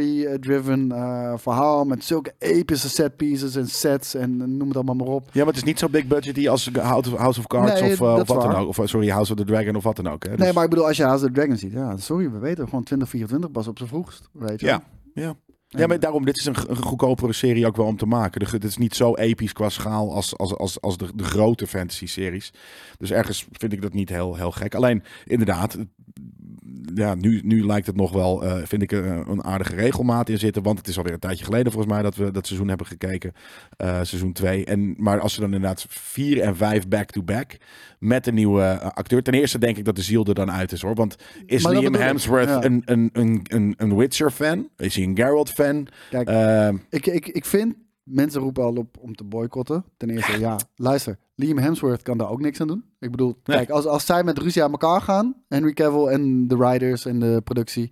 C: story-driven eh, verhaal met zulke epische set pieces en sets en eh, noem het allemaal maar op.
B: Ja, maar het is niet zo big budget als House of Cards
C: Nee,
B: of, eh,
C: dat
B: of wat
C: is
B: dan
C: waar.
B: ook. Of, eh, sorry, House of the Dragon of wat dan ook. Hè?
C: Nee,
B: Dus-
C: maar ik bedoel, als je House of the Dragon ziet, ja, sorry, we weten gewoon 2024 pas op zijn vroegst, weet je.
B: Ja. Ja. Ja,
C: En- eh,
B: maar daarom, dit is een, g- een goedkopere serie ook wel om te maken. De, het is niet zo episch qua schaal als, als, als, als de, de grote fantasy-series. Dus ergens vind ik dat niet heel, heel gek. Alleen, inderdaad, het- ja, nu, nu lijkt het nog wel, eh, vind ik, er een, een aardige regelmaat in zitten. Want het is alweer een tijdje geleden volgens mij dat we dat seizoen hebben gekeken. eh, seizoen 2. En, maar als ze dan inderdaad 4 en 5 back-to-back met een nieuwe eh, acteur. Ten eerste denk ik dat de ziel er dan uit is hoor. Want is
C: Maar dat
B: Liam
C: bedoel ik,
B: Hemsworth
C: ja.
B: een, een, een, een, een Witcher-fan? Is hij een Geralt-fan?
C: Kijk,
B: Ehm,
C: Ik, ik, ik vind, mensen roepen al op om te boycotten. Ten eerste, ja, luister, Liam Hemsworth kan daar ook niks aan doen. Ik bedoel,
B: Nee.
C: kijk, als, als zij met ruzie aan elkaar gaan, Henry Cavill en de writers en de productie.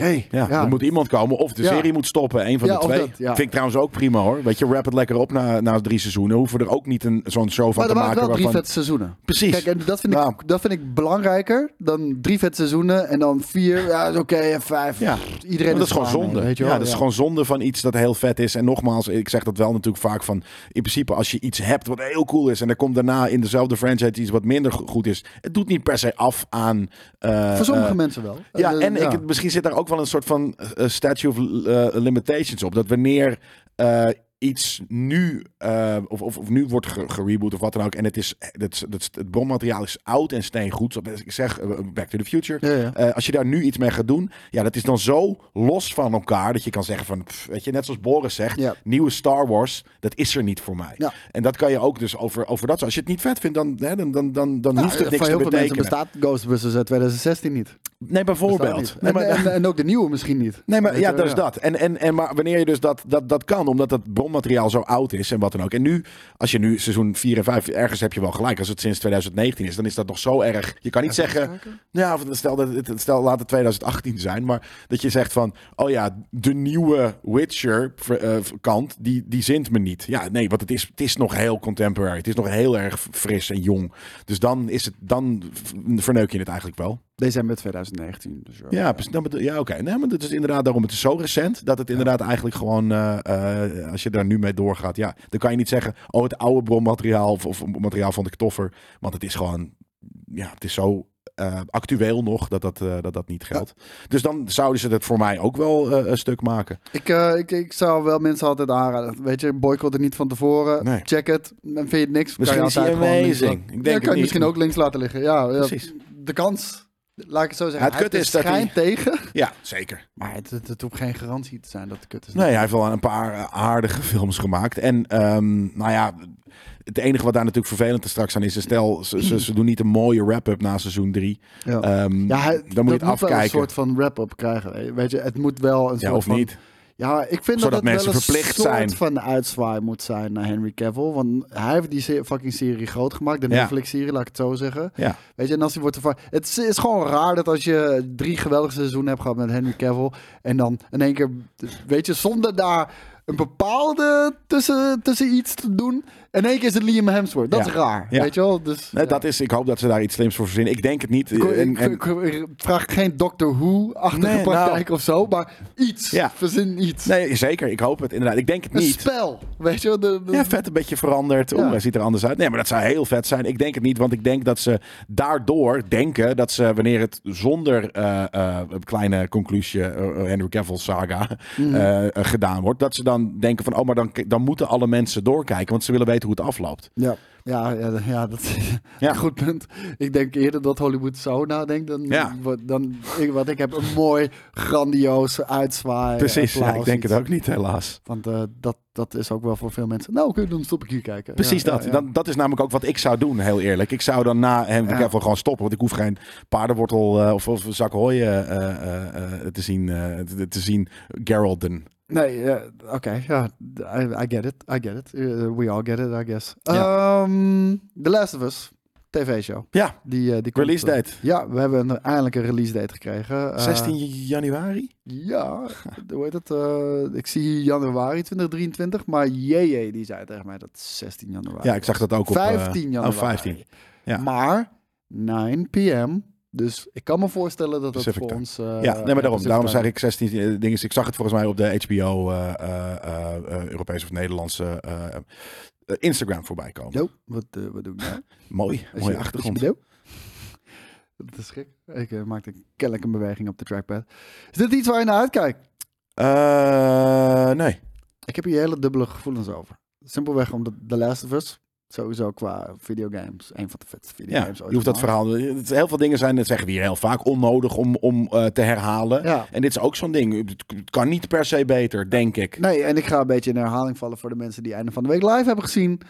C: Oké,
B: ja,
C: ja,
B: er moet iemand komen of de
C: Ja.
B: serie moet stoppen. Een van
C: Ja,
B: de
C: of
B: twee.
C: dat, ja.
B: Vind ik trouwens ook prima hoor. Weet je, wrap het lekker op na, na drie seizoenen. Hoeven we er ook niet een, zo'n show van
C: maar er
B: te
C: waren
B: maken.
C: wel drie
B: waarvan...
C: vette seizoenen.
B: Precies.
C: Kijk, en dat vind, ik,
B: Nou.
C: dat vind ik belangrijker dan drie vette seizoenen en dan vier, ja, is oké, en vijf.
B: Ja.
C: Iedereen
B: Maar dat is gewoon
C: klaar mee,
B: zonde.
C: weet je
B: ja,
C: wel,
B: dat is gewoon zonde van iets dat heel vet is. En nogmaals, ik zeg dat wel natuurlijk vaak van... In principe als je iets hebt wat heel cool is... en er komt daarna in dezelfde franchise iets wat minder go- goed is... het doet niet per se af aan... eh,
C: Voor sommige
B: eh,
C: mensen wel.
B: Ja,
C: Eh,
B: en Ik, misschien zit daar ook wel een soort van eh, statue of eh, limitations op. Dat wanneer eh, iets nu, eh, of, of, of nu wordt ge- gereboot of wat dan ook, en het, is, het, is- het, is- het bronmateriaal is oud en steengoed, zoals ik zeg, eh, Back to the Future.
C: Ja, ja.
B: Eh, als je daar nu iets mee gaat doen, ja, dat is dan zo los van elkaar dat je kan zeggen van, pff, weet je, net zoals Boris zegt,
C: Ja.
B: nieuwe Star Wars, dat is er niet voor mij.
C: Ja.
B: En dat kan je ook dus over, over dat. Als je het niet vet vindt, dan, hè, dan, dan, dan, dan
C: Ja,
B: hoeft het niks
C: Nou, voor
B: te
C: heel veel mensen
B: betekenen.
C: bestaat Ghostbusters uit 2016 niet.
B: Nee, bijvoorbeeld.
C: Bestaat niet.
B: Nee, maar,
C: en, en, en ook de nieuwe misschien niet.
B: Nee, maar
C: Weet
B: ja,
C: je,
B: dat is dat. En, en, en maar wanneer je dus dat, dat, dat kan, omdat dat bronmateriaal zo oud is en wat dan ook. En nu, als je nu seizoen 4 en 5, ergens heb je wel gelijk. Als het sinds 2019 is, dan is dat nog zo erg. Je kan niet zeggen, ja, of stel, dat, het- stel laat het 2018 zijn, maar dat je zegt van, oh ja, de nieuwe Witcher ver- eh, kant, die, die zint me niet. Ja, nee, want het is, het is nog heel contemporary. Het is nog heel erg fris en jong. Dus dan, is het, dan verneuk je het eigenlijk wel.
C: December 2019. Dus ja.
B: Ja, precies. Dan bedoel- ja oké. Nee, maar het is inderdaad daarom. Het is zo recent dat het inderdaad eigenlijk gewoon, eh, eh, als je daar nu mee doorgaat, ja, dan kan je niet zeggen, oh, het oude bronmateriaal of, of materiaal van de toffer. Want het is gewoon, ja, het is zo eh, actueel nog dat dat, eh, dat, dat niet geldt. Dus dan zouden ze het voor mij ook wel eh, een stuk maken.
C: Ik, eh, ik, ik zou wel mensen altijd aanraden. Weet je, boycott het niet van tevoren.
B: Nee.
C: Check het. Dan vind je het niks.
B: Misschien
C: kan
B: is
C: je
B: hij
C: altijd gewoon links
B: amazing.
C: laten-
B: Ik denk
C: Ja,
B: het
C: kan je
B: niet.
C: misschien ook links laten liggen. Ja, ja,
B: Precies.
C: De kans Laat ik het zo zeggen.
B: Het kut
C: heeft
B: is dat hij-
C: schijn tegen.
B: Ja, zeker.
C: Maar het, het, het hoeft geen garantie te zijn dat het kut is.
B: Nee, hij heeft wel een paar eh, aardige [laughs] films gemaakt. En ehm, nou ja, het enige wat daar natuurlijk vervelend te straks aan is, is stel, ze, [clears throat] ze, ze doen niet een mooie wrap-up na seizoen 3.
C: Ja.
B: Ehm,
C: Ja, hij-
B: dan moet je het
C: wel een
B: afkijken.
C: soort van wrap-up krijgen. Weet je, het moet wel
B: Ja,
C: een soort
B: of
C: van-
B: niet.
C: Ja, ik vind
B: Zodat
C: dat het
B: mensen
C: wel een
B: verplicht
C: soort
B: zijn.
C: van uitzwaai moet zijn naar Henry Cavill. Want hij heeft die se- fucking serie groot gemaakt. De
B: Ja.
C: Netflix-serie, laat ik het zo zeggen.
B: Ja.
C: Weet je, en als hij wordt ervan... Het is, is gewoon raar dat als je drie geweldige seizoenen hebt gehad met Henry Cavill... en dan in één keer, weet je, zonder daar een bepaalde tussen, tussen iets te doen... in één keer is het Liam Hemsworth. Dat
B: Ja.
C: is raar,
B: Ja.
C: weet je wel? Dus,
B: Nee,
C: ja.
B: dat is, ik hoop dat ze daar iets slims voor verzinnen. Ik denk het niet.
C: Ik,
B: En-
C: ik-
B: en-
C: ik- ik vraag geen Doctor Who-achtige
B: Nee,
C: praktijk
B: nou.
C: of zo, maar iets.
B: Ja.
C: Verzin iets.
B: nee, zeker. Ik hoop het inderdaad. Ik denk het
C: een
B: niet.
C: spel, weet je wel? De, de-
B: Ja, vet een beetje veranderd. Oeh,
C: Ja.
B: hij ziet er anders uit. Nee, maar dat zou heel vet zijn. Ik denk het niet, want ik denk dat ze daardoor denken dat ze, wanneer het zonder eh, eh, een kleine conclusie, eh, eh, Henry Cavill saga,
C: Mhm.
B: eh, eh, gedaan wordt, dat ze dan denken van, oh, maar dan, dan moeten alle mensen doorkijken, want ze willen weten hoe het afloopt.
C: Ja, ja, ja, ja dat [laughs] is
B: Ja.
C: een goed punt. Ik denk eerder dat Hollywood zo nadenkt dan,
B: Ja.
C: wat, dan ik, want ik heb een mooi, grandioos uitzwaai.
B: Precies, ja,
C: applaus,
B: ik denk het
C: iets.
B: ook niet, helaas.
C: Want eh, dat, dat is ook wel voor veel mensen. Nou, oké, dan stop ik hier kijken.
B: Precies
C: Ja,
B: dat.
C: ja, ja.
B: Dan, dat is namelijk ook wat ik zou doen, heel eerlijk. Ik zou dan na Henry
C: Ja.
B: Cavill gewoon stoppen. Want ik hoef geen paardenwortel eh, of, of zak hooi eh, eh, eh, te zien. eh, te, te zien Geralden.
C: Nee, ja, oké, ja, I, I get it, I get it. Eh, we all get it, I guess. Ehm, The Last of Us, tv-show.
B: Ja,
C: Die, eh, die komt,
B: Release
C: eh,
B: date.
C: Ja, we hebben een, eindelijk een release date gekregen. Eh,
B: 16 januari? [laughs]
C: Ja, hoe heet het? eh, ik zie hier januari 2023, maar JJ die zei tegen mij dat het 16 januari.
B: Ja, ik zag dat ook op... eh,
C: 15 januari. Eh,
B: Oh, 15. ja.
C: Maar 9 p.m. Dus ik kan me voorstellen dat dat
B: Pacific
C: voor
B: time.
C: ons... eh,
B: ja, nee, maar
C: dus
B: daarom, daarom zeg ik 16 eh, dingen. Ik zag het volgens mij op de HBO, eh, eh, eh, eh, Europese of Nederlandse eh, eh, Instagram voorbij komen.
C: Yo, wat, eh, wat doen we nou?
B: Mooi,
C: Is
B: mooie
C: je-
B: achtergrond.
C: is je bedoel? [laughs] Dat is gek. Ik eh, maakte kennelijk een beweging op de trackpad. Is dit iets waar je naar uitkijkt?
B: Eh, nee.
C: Ik heb hier hele dubbele gevoelens over. Simpelweg omdat The Last of Us sowieso qua videogames een van de vetste
B: Ja,
C: videogames
B: je
C: ooit
B: hoeft dat
C: gemaakt.
B: verhaal... het- Heel veel dingen zijn, dat zeggen we hier heel vaak, onnodig om, om eh, te herhalen.
C: Ja.
B: En dit is ook zo'n ding. Het- Het kan niet per se beter, denk ik.
C: Nee, en ik ga een beetje in herhaling vallen voor de mensen die einde van de week live hebben gezien.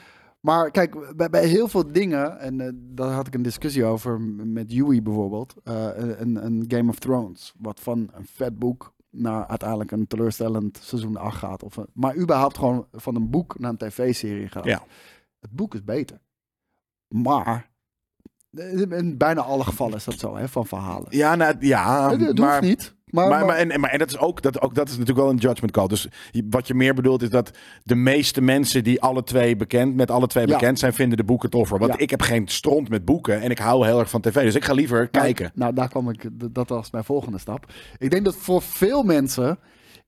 C: Maar kijk, bij, bij heel veel dingen, en eh, daar had ik een discussie over m- met Yui bijvoorbeeld, eh, een, een Game of Thrones, wat van een vet boek naar uiteindelijk een teleurstellend seizoen 8 gaat. Of een- maar überhaupt gewoon van een boek naar een tv-serie gaat.
B: Ja.
C: Het boek is beter. Maar, eh, in bijna alle gevallen is dat zo, hè, van verhalen.
B: Ja, nou, ja
C: het het
B: maar...
C: hoeft niet.
B: Maar,
C: Maar,
B: maar, en, en- maar, en dat is ook, dat, ook, dat is natuurlijk wel een judgment call. Dus je- wat je meer bedoelt is dat de meeste mensen die alle twee bekend, met alle twee
C: Ja.
B: bekend zijn, vinden de boeken toffer. Want
C: Ja.
B: ik heb geen stront met boeken en ik hou heel erg van tv. Dus ik ga liever kijken.
C: Nou, daar kwam ik, d- dat was mijn volgende stap. Ik denk dat voor veel mensen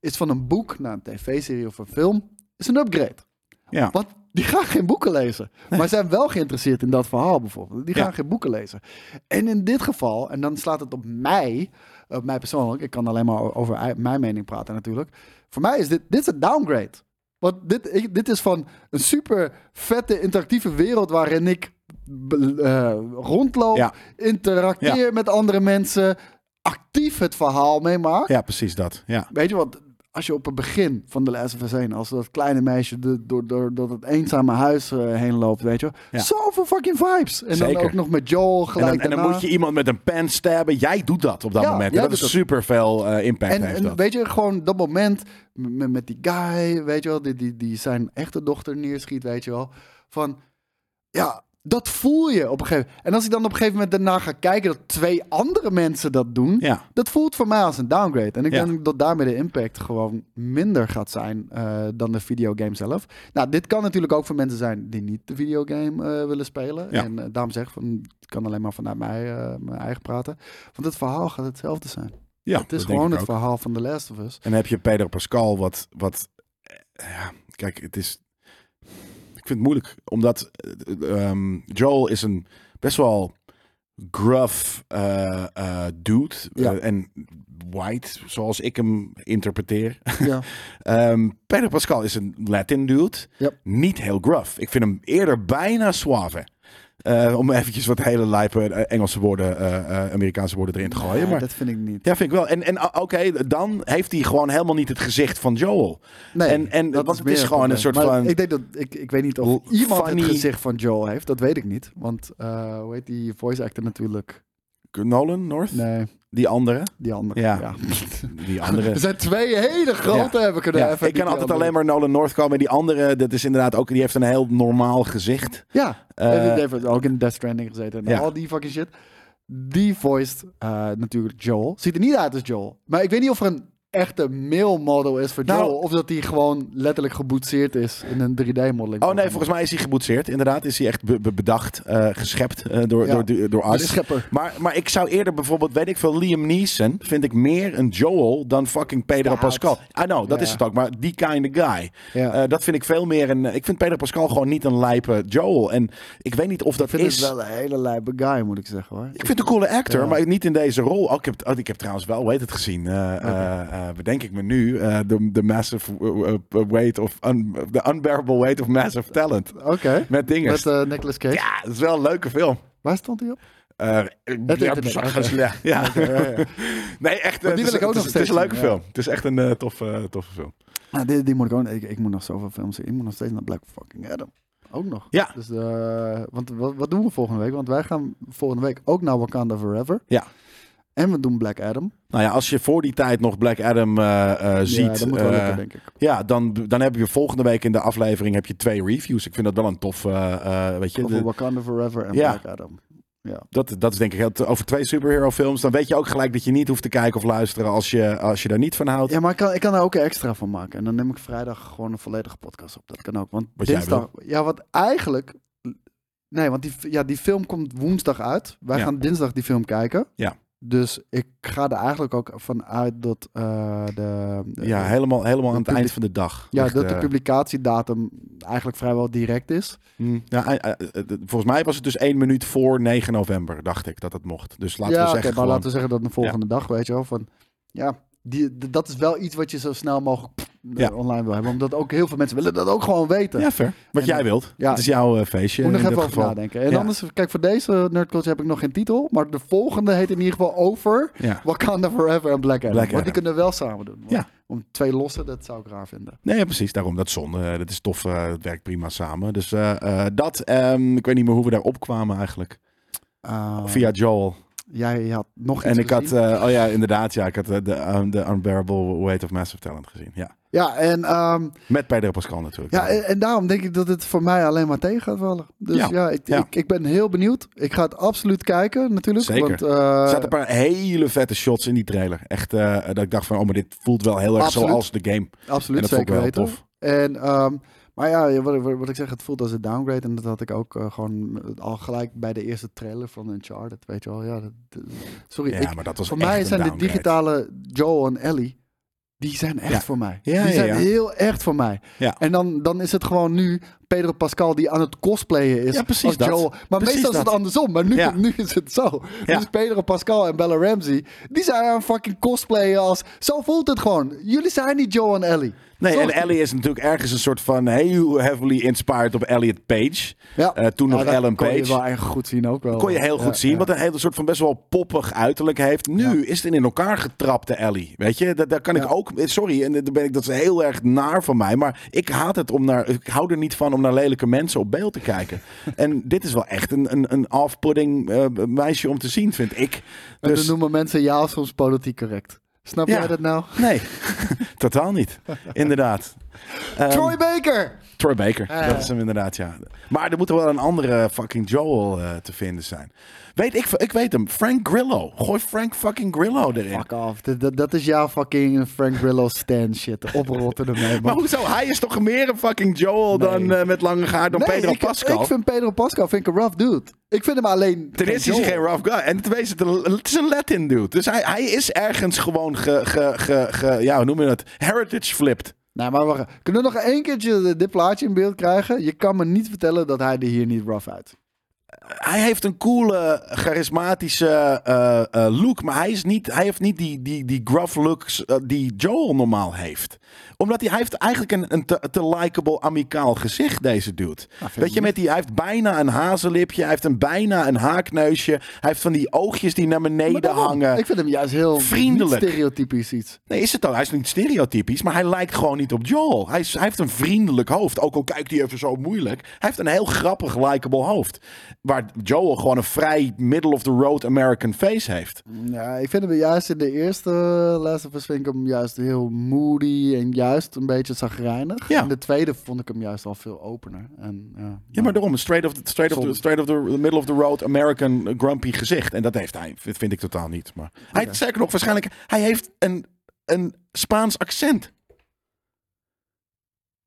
C: is van een boek naar een tv-serie of een film is een upgrade.
B: Ja.
C: Want die gaan geen boeken lezen. Maar zijn wel geïnteresseerd in dat verhaal bijvoorbeeld. Die gaan
B: Ja.
C: geen boeken lezen. En in dit geval, en dan slaat het op mij, op mij persoonlijk. Ik kan alleen maar o- over ei- mijn mening praten natuurlijk. Voor mij is dit, dit is een downgrade. Want dit, ik- dit is van een super vette interactieve wereld waarin ik be- eh, rondloop,
B: Ja.
C: interacteer met andere mensen, actief het verhaal meemaak.
B: ja, precies dat. Ja.
C: Weet je wat? Als je op het begin van de Last of Us 1, als dat kleine meisje de- door, door, door dat eenzame huis eh, heen loopt, weet je wel.
B: Ja.
C: Zoveel fucking vibes. En
B: Zeker.
C: dan ook nog met Joel
B: En
C: gelijk
B: dan, en dan
C: daarna.
B: moet je iemand met een pen stabben. Jij doet dat op dat
C: Ja,
B: moment.
C: jij
B: En dat
C: doet
B: is
C: dat.
B: super veel impact
C: En,
B: heeft
C: en
B: dat.
C: weet je, gewoon dat moment m- met, die guy, weet je wel, die, die, die zijn echte dochter neerschiet, weet je wel. Van, ja, dat voel je op een gegeven moment. En als ik dan op een gegeven moment daarna ga kijken dat twee andere mensen dat doen,
B: Ja.
C: dat voelt voor mij als een downgrade. En ik
B: Ja.
C: denk dat daarmee de impact gewoon minder gaat zijn eh, dan de videogame zelf. Nou, dit kan natuurlijk ook voor mensen zijn die niet de videogame eh, willen spelen.
B: Ja.
C: En eh, daarom zeg ik, van, ik kan alleen maar vanuit mij, eh, mijn eigen praten. Want het verhaal gaat hetzelfde zijn.
B: ja,
C: Het is
B: dat denk
C: gewoon
B: ik
C: het
B: ook.
C: verhaal van The Last of Us.
B: [laughs] En dan heb je Pedro Pascal, wat. wat eh, ja, kijk, het is. Ik vind het moeilijk, omdat eh, ehm, Joel is een best wel gruff eh, eh, dude.
C: Ja.
B: eh, en white, zoals ik hem interpreteer.
C: Ja,
B: Ehm Pedro Pascal is een Latin dude.
C: Yep.
B: Niet heel gruff. Ik vind hem eerder bijna suave. Eh, om eventjes wat hele lijpe eh, Engelse woorden, eh, eh, Amerikaanse woorden erin te gooien.
C: Ja,
B: maar
C: Dat vind ik niet.
B: ja, vind ik wel. En, en ah, oké, dan heeft hij gewoon helemaal niet het gezicht van Joel.
C: Nee,
B: en, en,
C: dat
B: want het
C: meer
B: is gewoon een
C: probleem.
B: soort
C: Maar
B: van...
C: Ik, denk dat, ik, ik weet niet of
B: L-
C: iemand
B: funny-
C: het gezicht van Joel heeft. Dat weet ik niet. Want eh, hoe heet die voice actor natuurlijk?
B: Nolan North?
C: Nee,
B: Die andere?
C: die andere.
B: Ja.
C: Ja. [laughs]
B: Die andere...
C: Er zijn twee hele grote heb ik er
B: Ja,
C: even
B: ik
C: niet
B: kan altijd
C: aan
B: alleen maar Nolan North komen. Die andere, dat is inderdaad ook, die heeft een heel normaal gezicht.
C: doen. Ja,
B: Eh,
C: die heeft ook in Death Stranding gezeten. En
B: ja.
C: al die fucking shit. Die voiced eh, natuurlijk Joel. Ziet er niet uit als Joel. Maar ik weet niet of er een echte male model is voor
B: Nou-
C: Joel. Of dat hij gewoon letterlijk geboetseerd is in een 3D-modeling.
B: Oh nee, volgens mij is hij geboetseerd. Inderdaad, is hij echt be- be- bedacht, eh, geschept eh, door,
C: Ja.
B: door, door, door
C: De
B: artists.
C: schepper.
B: Maar, maar ik zou eerder bijvoorbeeld, weet ik veel, Liam Neeson vind ik meer een Joel dan fucking Pedro
C: Haat.
B: Pascal. I know, dat
C: Ja.
B: is het ook, maar die kind of guy.
C: Ja.
B: Eh, dat vind ik veel meer een... Ik vind Pedro Pascal gewoon niet een lijpe Joel. En ik weet niet of dat
C: Ik vind
B: is...
C: het wel een hele lijpe guy, moet ik zeggen hoor.
B: Ik vind het een coole actor,
C: Ja.
B: maar niet in deze rol. Oh, ik, heb, oh, ik heb trouwens wel, weet het gezien. eh, eh, eh, bedenk ik me nu. eh, De de massive eh, eh, weight of... un- The unbearable weight of massive talent.
C: Oké.
B: Met dingen.
C: Oh, Met eh Nicolas Cage.
B: Ja, dat is wel een leuke film.
C: Waar stond hij op?
B: Eh, ja,
C: internet,
B: zag-
C: oké.
B: ja, [laughs] ja. Nee, echt. eh,
C: wil
B: het is- het
C: ik ook
B: is- Het
C: nog
B: is
C: steeds
B: een leuke
C: zien, ja.
B: film. Het is echt een eh, toffe, eh, toffe film.
C: Ah, die, die moet ik ook. Ik, ik moet nog zoveel films zien. Ik moet nog steeds naar Black fucking Adam. Ook nog.
B: Ja.
C: Dus, eh, want wat, wat doen we volgende week? Want wij gaan volgende week ook naar Wakanda Forever.
B: Ja.
C: En we doen Black Adam.
B: Nou ja, als je voor die tijd nog Black Adam eh, eh, ziet.
C: ja, dat moet wel
B: eh,
C: lukken, denk ik.
B: Ja, dan, dan heb je volgende week in de aflevering heb je twee reviews. Ik vind dat wel een tof, eh, eh, weet je.
C: Over
B: de-
C: Wakanda Forever en
B: Ja.
C: Black Adam.
B: dat, dat is denk ik heel- over twee superhero films. Dan weet je ook gelijk dat je niet hoeft te kijken of luisteren als je, als je daar niet van houdt.
C: Ja, maar ik kan, ik kan daar ook een extra van maken. En dan neem ik vrijdag gewoon een volledige podcast op. Dat kan ook. Want
B: Wat jij
C: dinsdag. Ja, wat eigenlijk. Nee, want die, ja, die film komt woensdag uit. Wij
B: Ja.
C: gaan dinsdag die film kijken.
B: Ja.
C: Dus ik ga er eigenlijk ook van uit dat eh, de.
B: Ja,
C: de-
B: helemaal, helemaal aan het
C: publiek-
B: eind van de dag.
C: ja,
B: Echt,
C: dat de
B: eh,
C: publicatiedatum eigenlijk vrijwel direct is.
B: Hmm. Ja, eh, eh, eh, volgens mij was het dus één minuut voor 9 november, dacht ik, dat het mocht. Dus laten
C: ja,
B: we
C: oké,
B: zeggen
C: maar
B: gewoon-
C: laten we zeggen dat de volgende dag, weet je wel. Van, ja, die, d- dat is wel iets wat je zo snel mogelijk pff, eh,
B: Ja.
C: online wil hebben. Omdat ook heel veel mensen willen dat ook gewoon weten.
B: Ja, fair. Wat
C: En,
B: jij
C: eh,
B: wilt.
C: ja.
B: het is jouw eh, feestje
C: Moet nog
B: in
C: even
B: dit
C: over
B: geval.
C: nadenken. En
B: Ja.
C: anders, kijk, voor deze nerdculture heb ik nog geen titel. Maar de volgende heet in ieder geval over
B: Ja.
C: Wakanda Forever en Black Adam.
B: Black
C: Want
B: Adam.
C: die kunnen we wel samen doen. Want
B: Ja.
C: Om twee lossen, dat zou ik raar vinden.
B: Nee, ja, precies. Daarom, dat is zonde. Eh, Dat is tof. eh, het werkt prima samen. Dus eh, eh, dat, ehm, ik weet niet meer hoe we daar opkwamen eigenlijk.
C: Eh,
B: Via Joel.
C: Jij had nog iets
B: Oh. En ik had,
C: gezien.
B: eh, oh ja, inderdaad, ja, ik had eh, de um, The Unbearable Weight of Massive Talent gezien. Ja.
C: Ja, en, ehm,
B: Met Pedro Pascal natuurlijk.
C: ja, eh, en, en daarom denk ik dat het voor mij alleen maar tegen gaat vallen. Dus
B: Ja.
C: ja, ik,
B: Ja.
C: Ik, ik ben heel benieuwd. Ik ga het absoluut kijken, natuurlijk.
B: Zeker.
C: Want, eh,
B: er zaten een paar hele vette shots in die trailer. Echt, eh, dat ik dacht van, oh, maar dit voelt wel heel erg
C: Absoluut.
B: zoals de game.
C: Absoluut,
B: En dat vond ik
C: zeker
B: wel
C: weten.
B: tof.
C: En, ehm, maar ja, wat, ik- wat ik zeg, het voelt als een downgrade. En dat had ik ook eh, gewoon al gelijk bij de eerste trailer van Uncharted, weet je wel. Ja, dat, dat- sorry,
B: Ja,
C: ik,
B: maar dat was
C: voor
B: echt
C: mij
B: een
C: zijn de
B: downgrade.
C: digitale Joel en Ellie, die zijn echt
B: Ja.
C: voor mij.
B: Ja,
C: die
B: ja,
C: zijn
B: ja.
C: heel echt voor mij.
B: Ja.
C: En dan, dan is het gewoon nu Pedro Pascal die aan het cosplayen is
B: Ja, precies
C: als
B: dat.
C: Joel. Maar
B: Precies
C: meestal is het
B: dat.
C: andersom, maar nu,
B: Ja.
C: nu is het zo.
B: Ja.
C: Dus Pedro Pascal en Bella Ramsey, die zijn aan fucking cosplayen als... Zo voelt het gewoon. Jullie zijn niet Joel en Ellie.
B: Nee,
C: Sorry.
B: en Ellie is natuurlijk ergens een soort van heel heavily inspired op Elliot Page.
C: Ja.
B: Eh, toen nog
C: dat
B: Ellen
C: kon je
B: Page.
C: wel echt goed zien ook wel.
B: Kon je heel
C: Ja,
B: goed zien,
C: ja.
B: wat een hele soort van best wel poppig uiterlijk heeft. Nu is het een in elkaar getrapte Ellie. Weet je, daar, daar kan
C: Ja.
B: ik ook. eh, Sorry, en daar ben ik, dat is heel erg naar van mij. Maar ik haat het om naar. Ik hou er niet van om naar lelijke mensen op beeld te
C: [laughs]
B: kijken. en dit is wel echt een, een, een off-putting eh, meisje om te zien, vind ik.
C: En
B: Dus
C: dan noemen mensen jou soms politiek correct. Snap
B: Ja.
C: jij dat nou?
B: nee, [laughs] totaal
C: [laughs]
B: niet. Inderdaad. Ehm,
C: Troy Baker!
B: Troy Baker,
C: Eh.
B: dat is hem inderdaad, ja. Maar er moet wel een andere fucking Joel eh, te vinden zijn. Weet ik, ik weet hem, Frank Grillo. Gooi Frank fucking Grillo erin.
C: Fuck off. Dat, dat, dat is jouw fucking Frank Grillo stand shit. Oprotten ermee,
B: Maar
C: man.
B: hoezo? Hij is toch meer een fucking Joel dan eh, met lange haar dan
C: Nee,
B: Pedro
C: ik,
B: Pascal?
C: Ik vind Pedro Pascal vind ik een rough dude. Ik vind hem alleen...
B: Ten eerste is hij geen
C: Joel.
B: rough guy. En ten tweede is het een, het is een Latin dude. Dus hij, hij is ergens gewoon ge, ge, ge, ge- ja, hoe noem je dat? Heritage flipped.
C: Nee, maar wacht. Kunnen we nog één keertje dit plaatje in beeld krijgen? Je kan me niet vertellen dat hij er hier niet rough uit.
B: hij heeft een coole, charismatische eh, eh, look. Maar hij, is niet, hij heeft niet die, die, die gruff looks eh, die Joel normaal heeft. Omdat hij, hij heeft eigenlijk een, een te, te likable, amicaal gezicht, deze
C: Nou,
B: dude. Weet je, met die, hij heeft bijna een hazenlipje. Hij heeft een, bijna een haakneusje. Hij heeft van die oogjes die naar beneden
C: Maar daarom,
B: hangen.
C: Ik vind hem juist heel
B: Vriendelijk.
C: niet stereotypisch iets.
B: Nee, is het dan? Hij is niet stereotypisch, maar hij lijkt gewoon niet op Joel. Hij, is- hij heeft een vriendelijk hoofd, ook al kijkt hij even zo moeilijk. Hij heeft een heel grappig, likable hoofd. Waar Joel gewoon een vrij middle-of-the-road American face heeft.
C: Ja, ik vind hem juist in de eerste Last of Us vind ik hem juist heel moody en juist een beetje zagrijnig.
B: Ja.
C: In de tweede vond ik hem juist al veel opener. En, eh, ja,
B: Ja, maar daarom, een straight of the, straight of the,
C: Zonde.
B: straight of the middle-of-the-road American eh, grumpy gezicht. En dat heeft hij, vind vind ik totaal niet. Maar hij, zeker nog, waarschijnlijk, hij heeft een, een Spaans accent.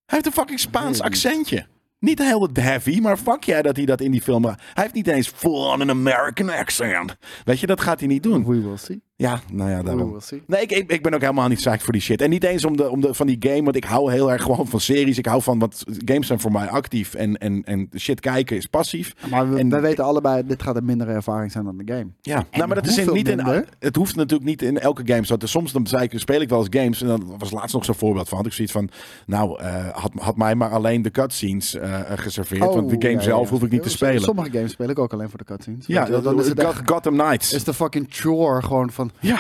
B: Hij heeft een fucking Spaans
C: Weet ik niet.
B: accentje. Niet heel heavy, maar fuck jij dat hij dat in die film... Hij heeft niet eens full-on an American accent. Weet je, dat gaat hij niet doen.
C: We will see.
B: Ja, nou ja,
C: We
B: daarom.
C: will see.
B: Nee, ik, ik, ik ben ook helemaal niet psyched voor die shit. En niet eens om de, om de, van die game, want ik hou heel erg gewoon van series. Ik hou van, want games zijn voor mij actief. En, en, en shit kijken is passief.
C: Maar we,
B: En-
C: we weten allebei, dit gaat een mindere ervaring zijn dan de game.
B: Ja, nou, maar dat is in-
C: hoeveel
B: niet in,
C: minder?
B: het hoeft natuurlijk niet in elke game zo. te- Soms dan zei ik, speel ik wel eens games en dan was laatst nog zo'n voorbeeld van. Had ik zoiets van, nou, eh, had, had mij maar alleen de cutscenes eh, geserveerd. want de game
C: Oh, ja, ja,
B: zelf
C: ja.
B: hoef ik niet te spelen.
C: Sommige games speel ik ook alleen voor de cutscenes.
B: ja,
C: Weet je wel,
B: dat, dan
C: dan is het echt,
B: Gotham Knights.
C: is de fucking chore gewoon van...
B: ja,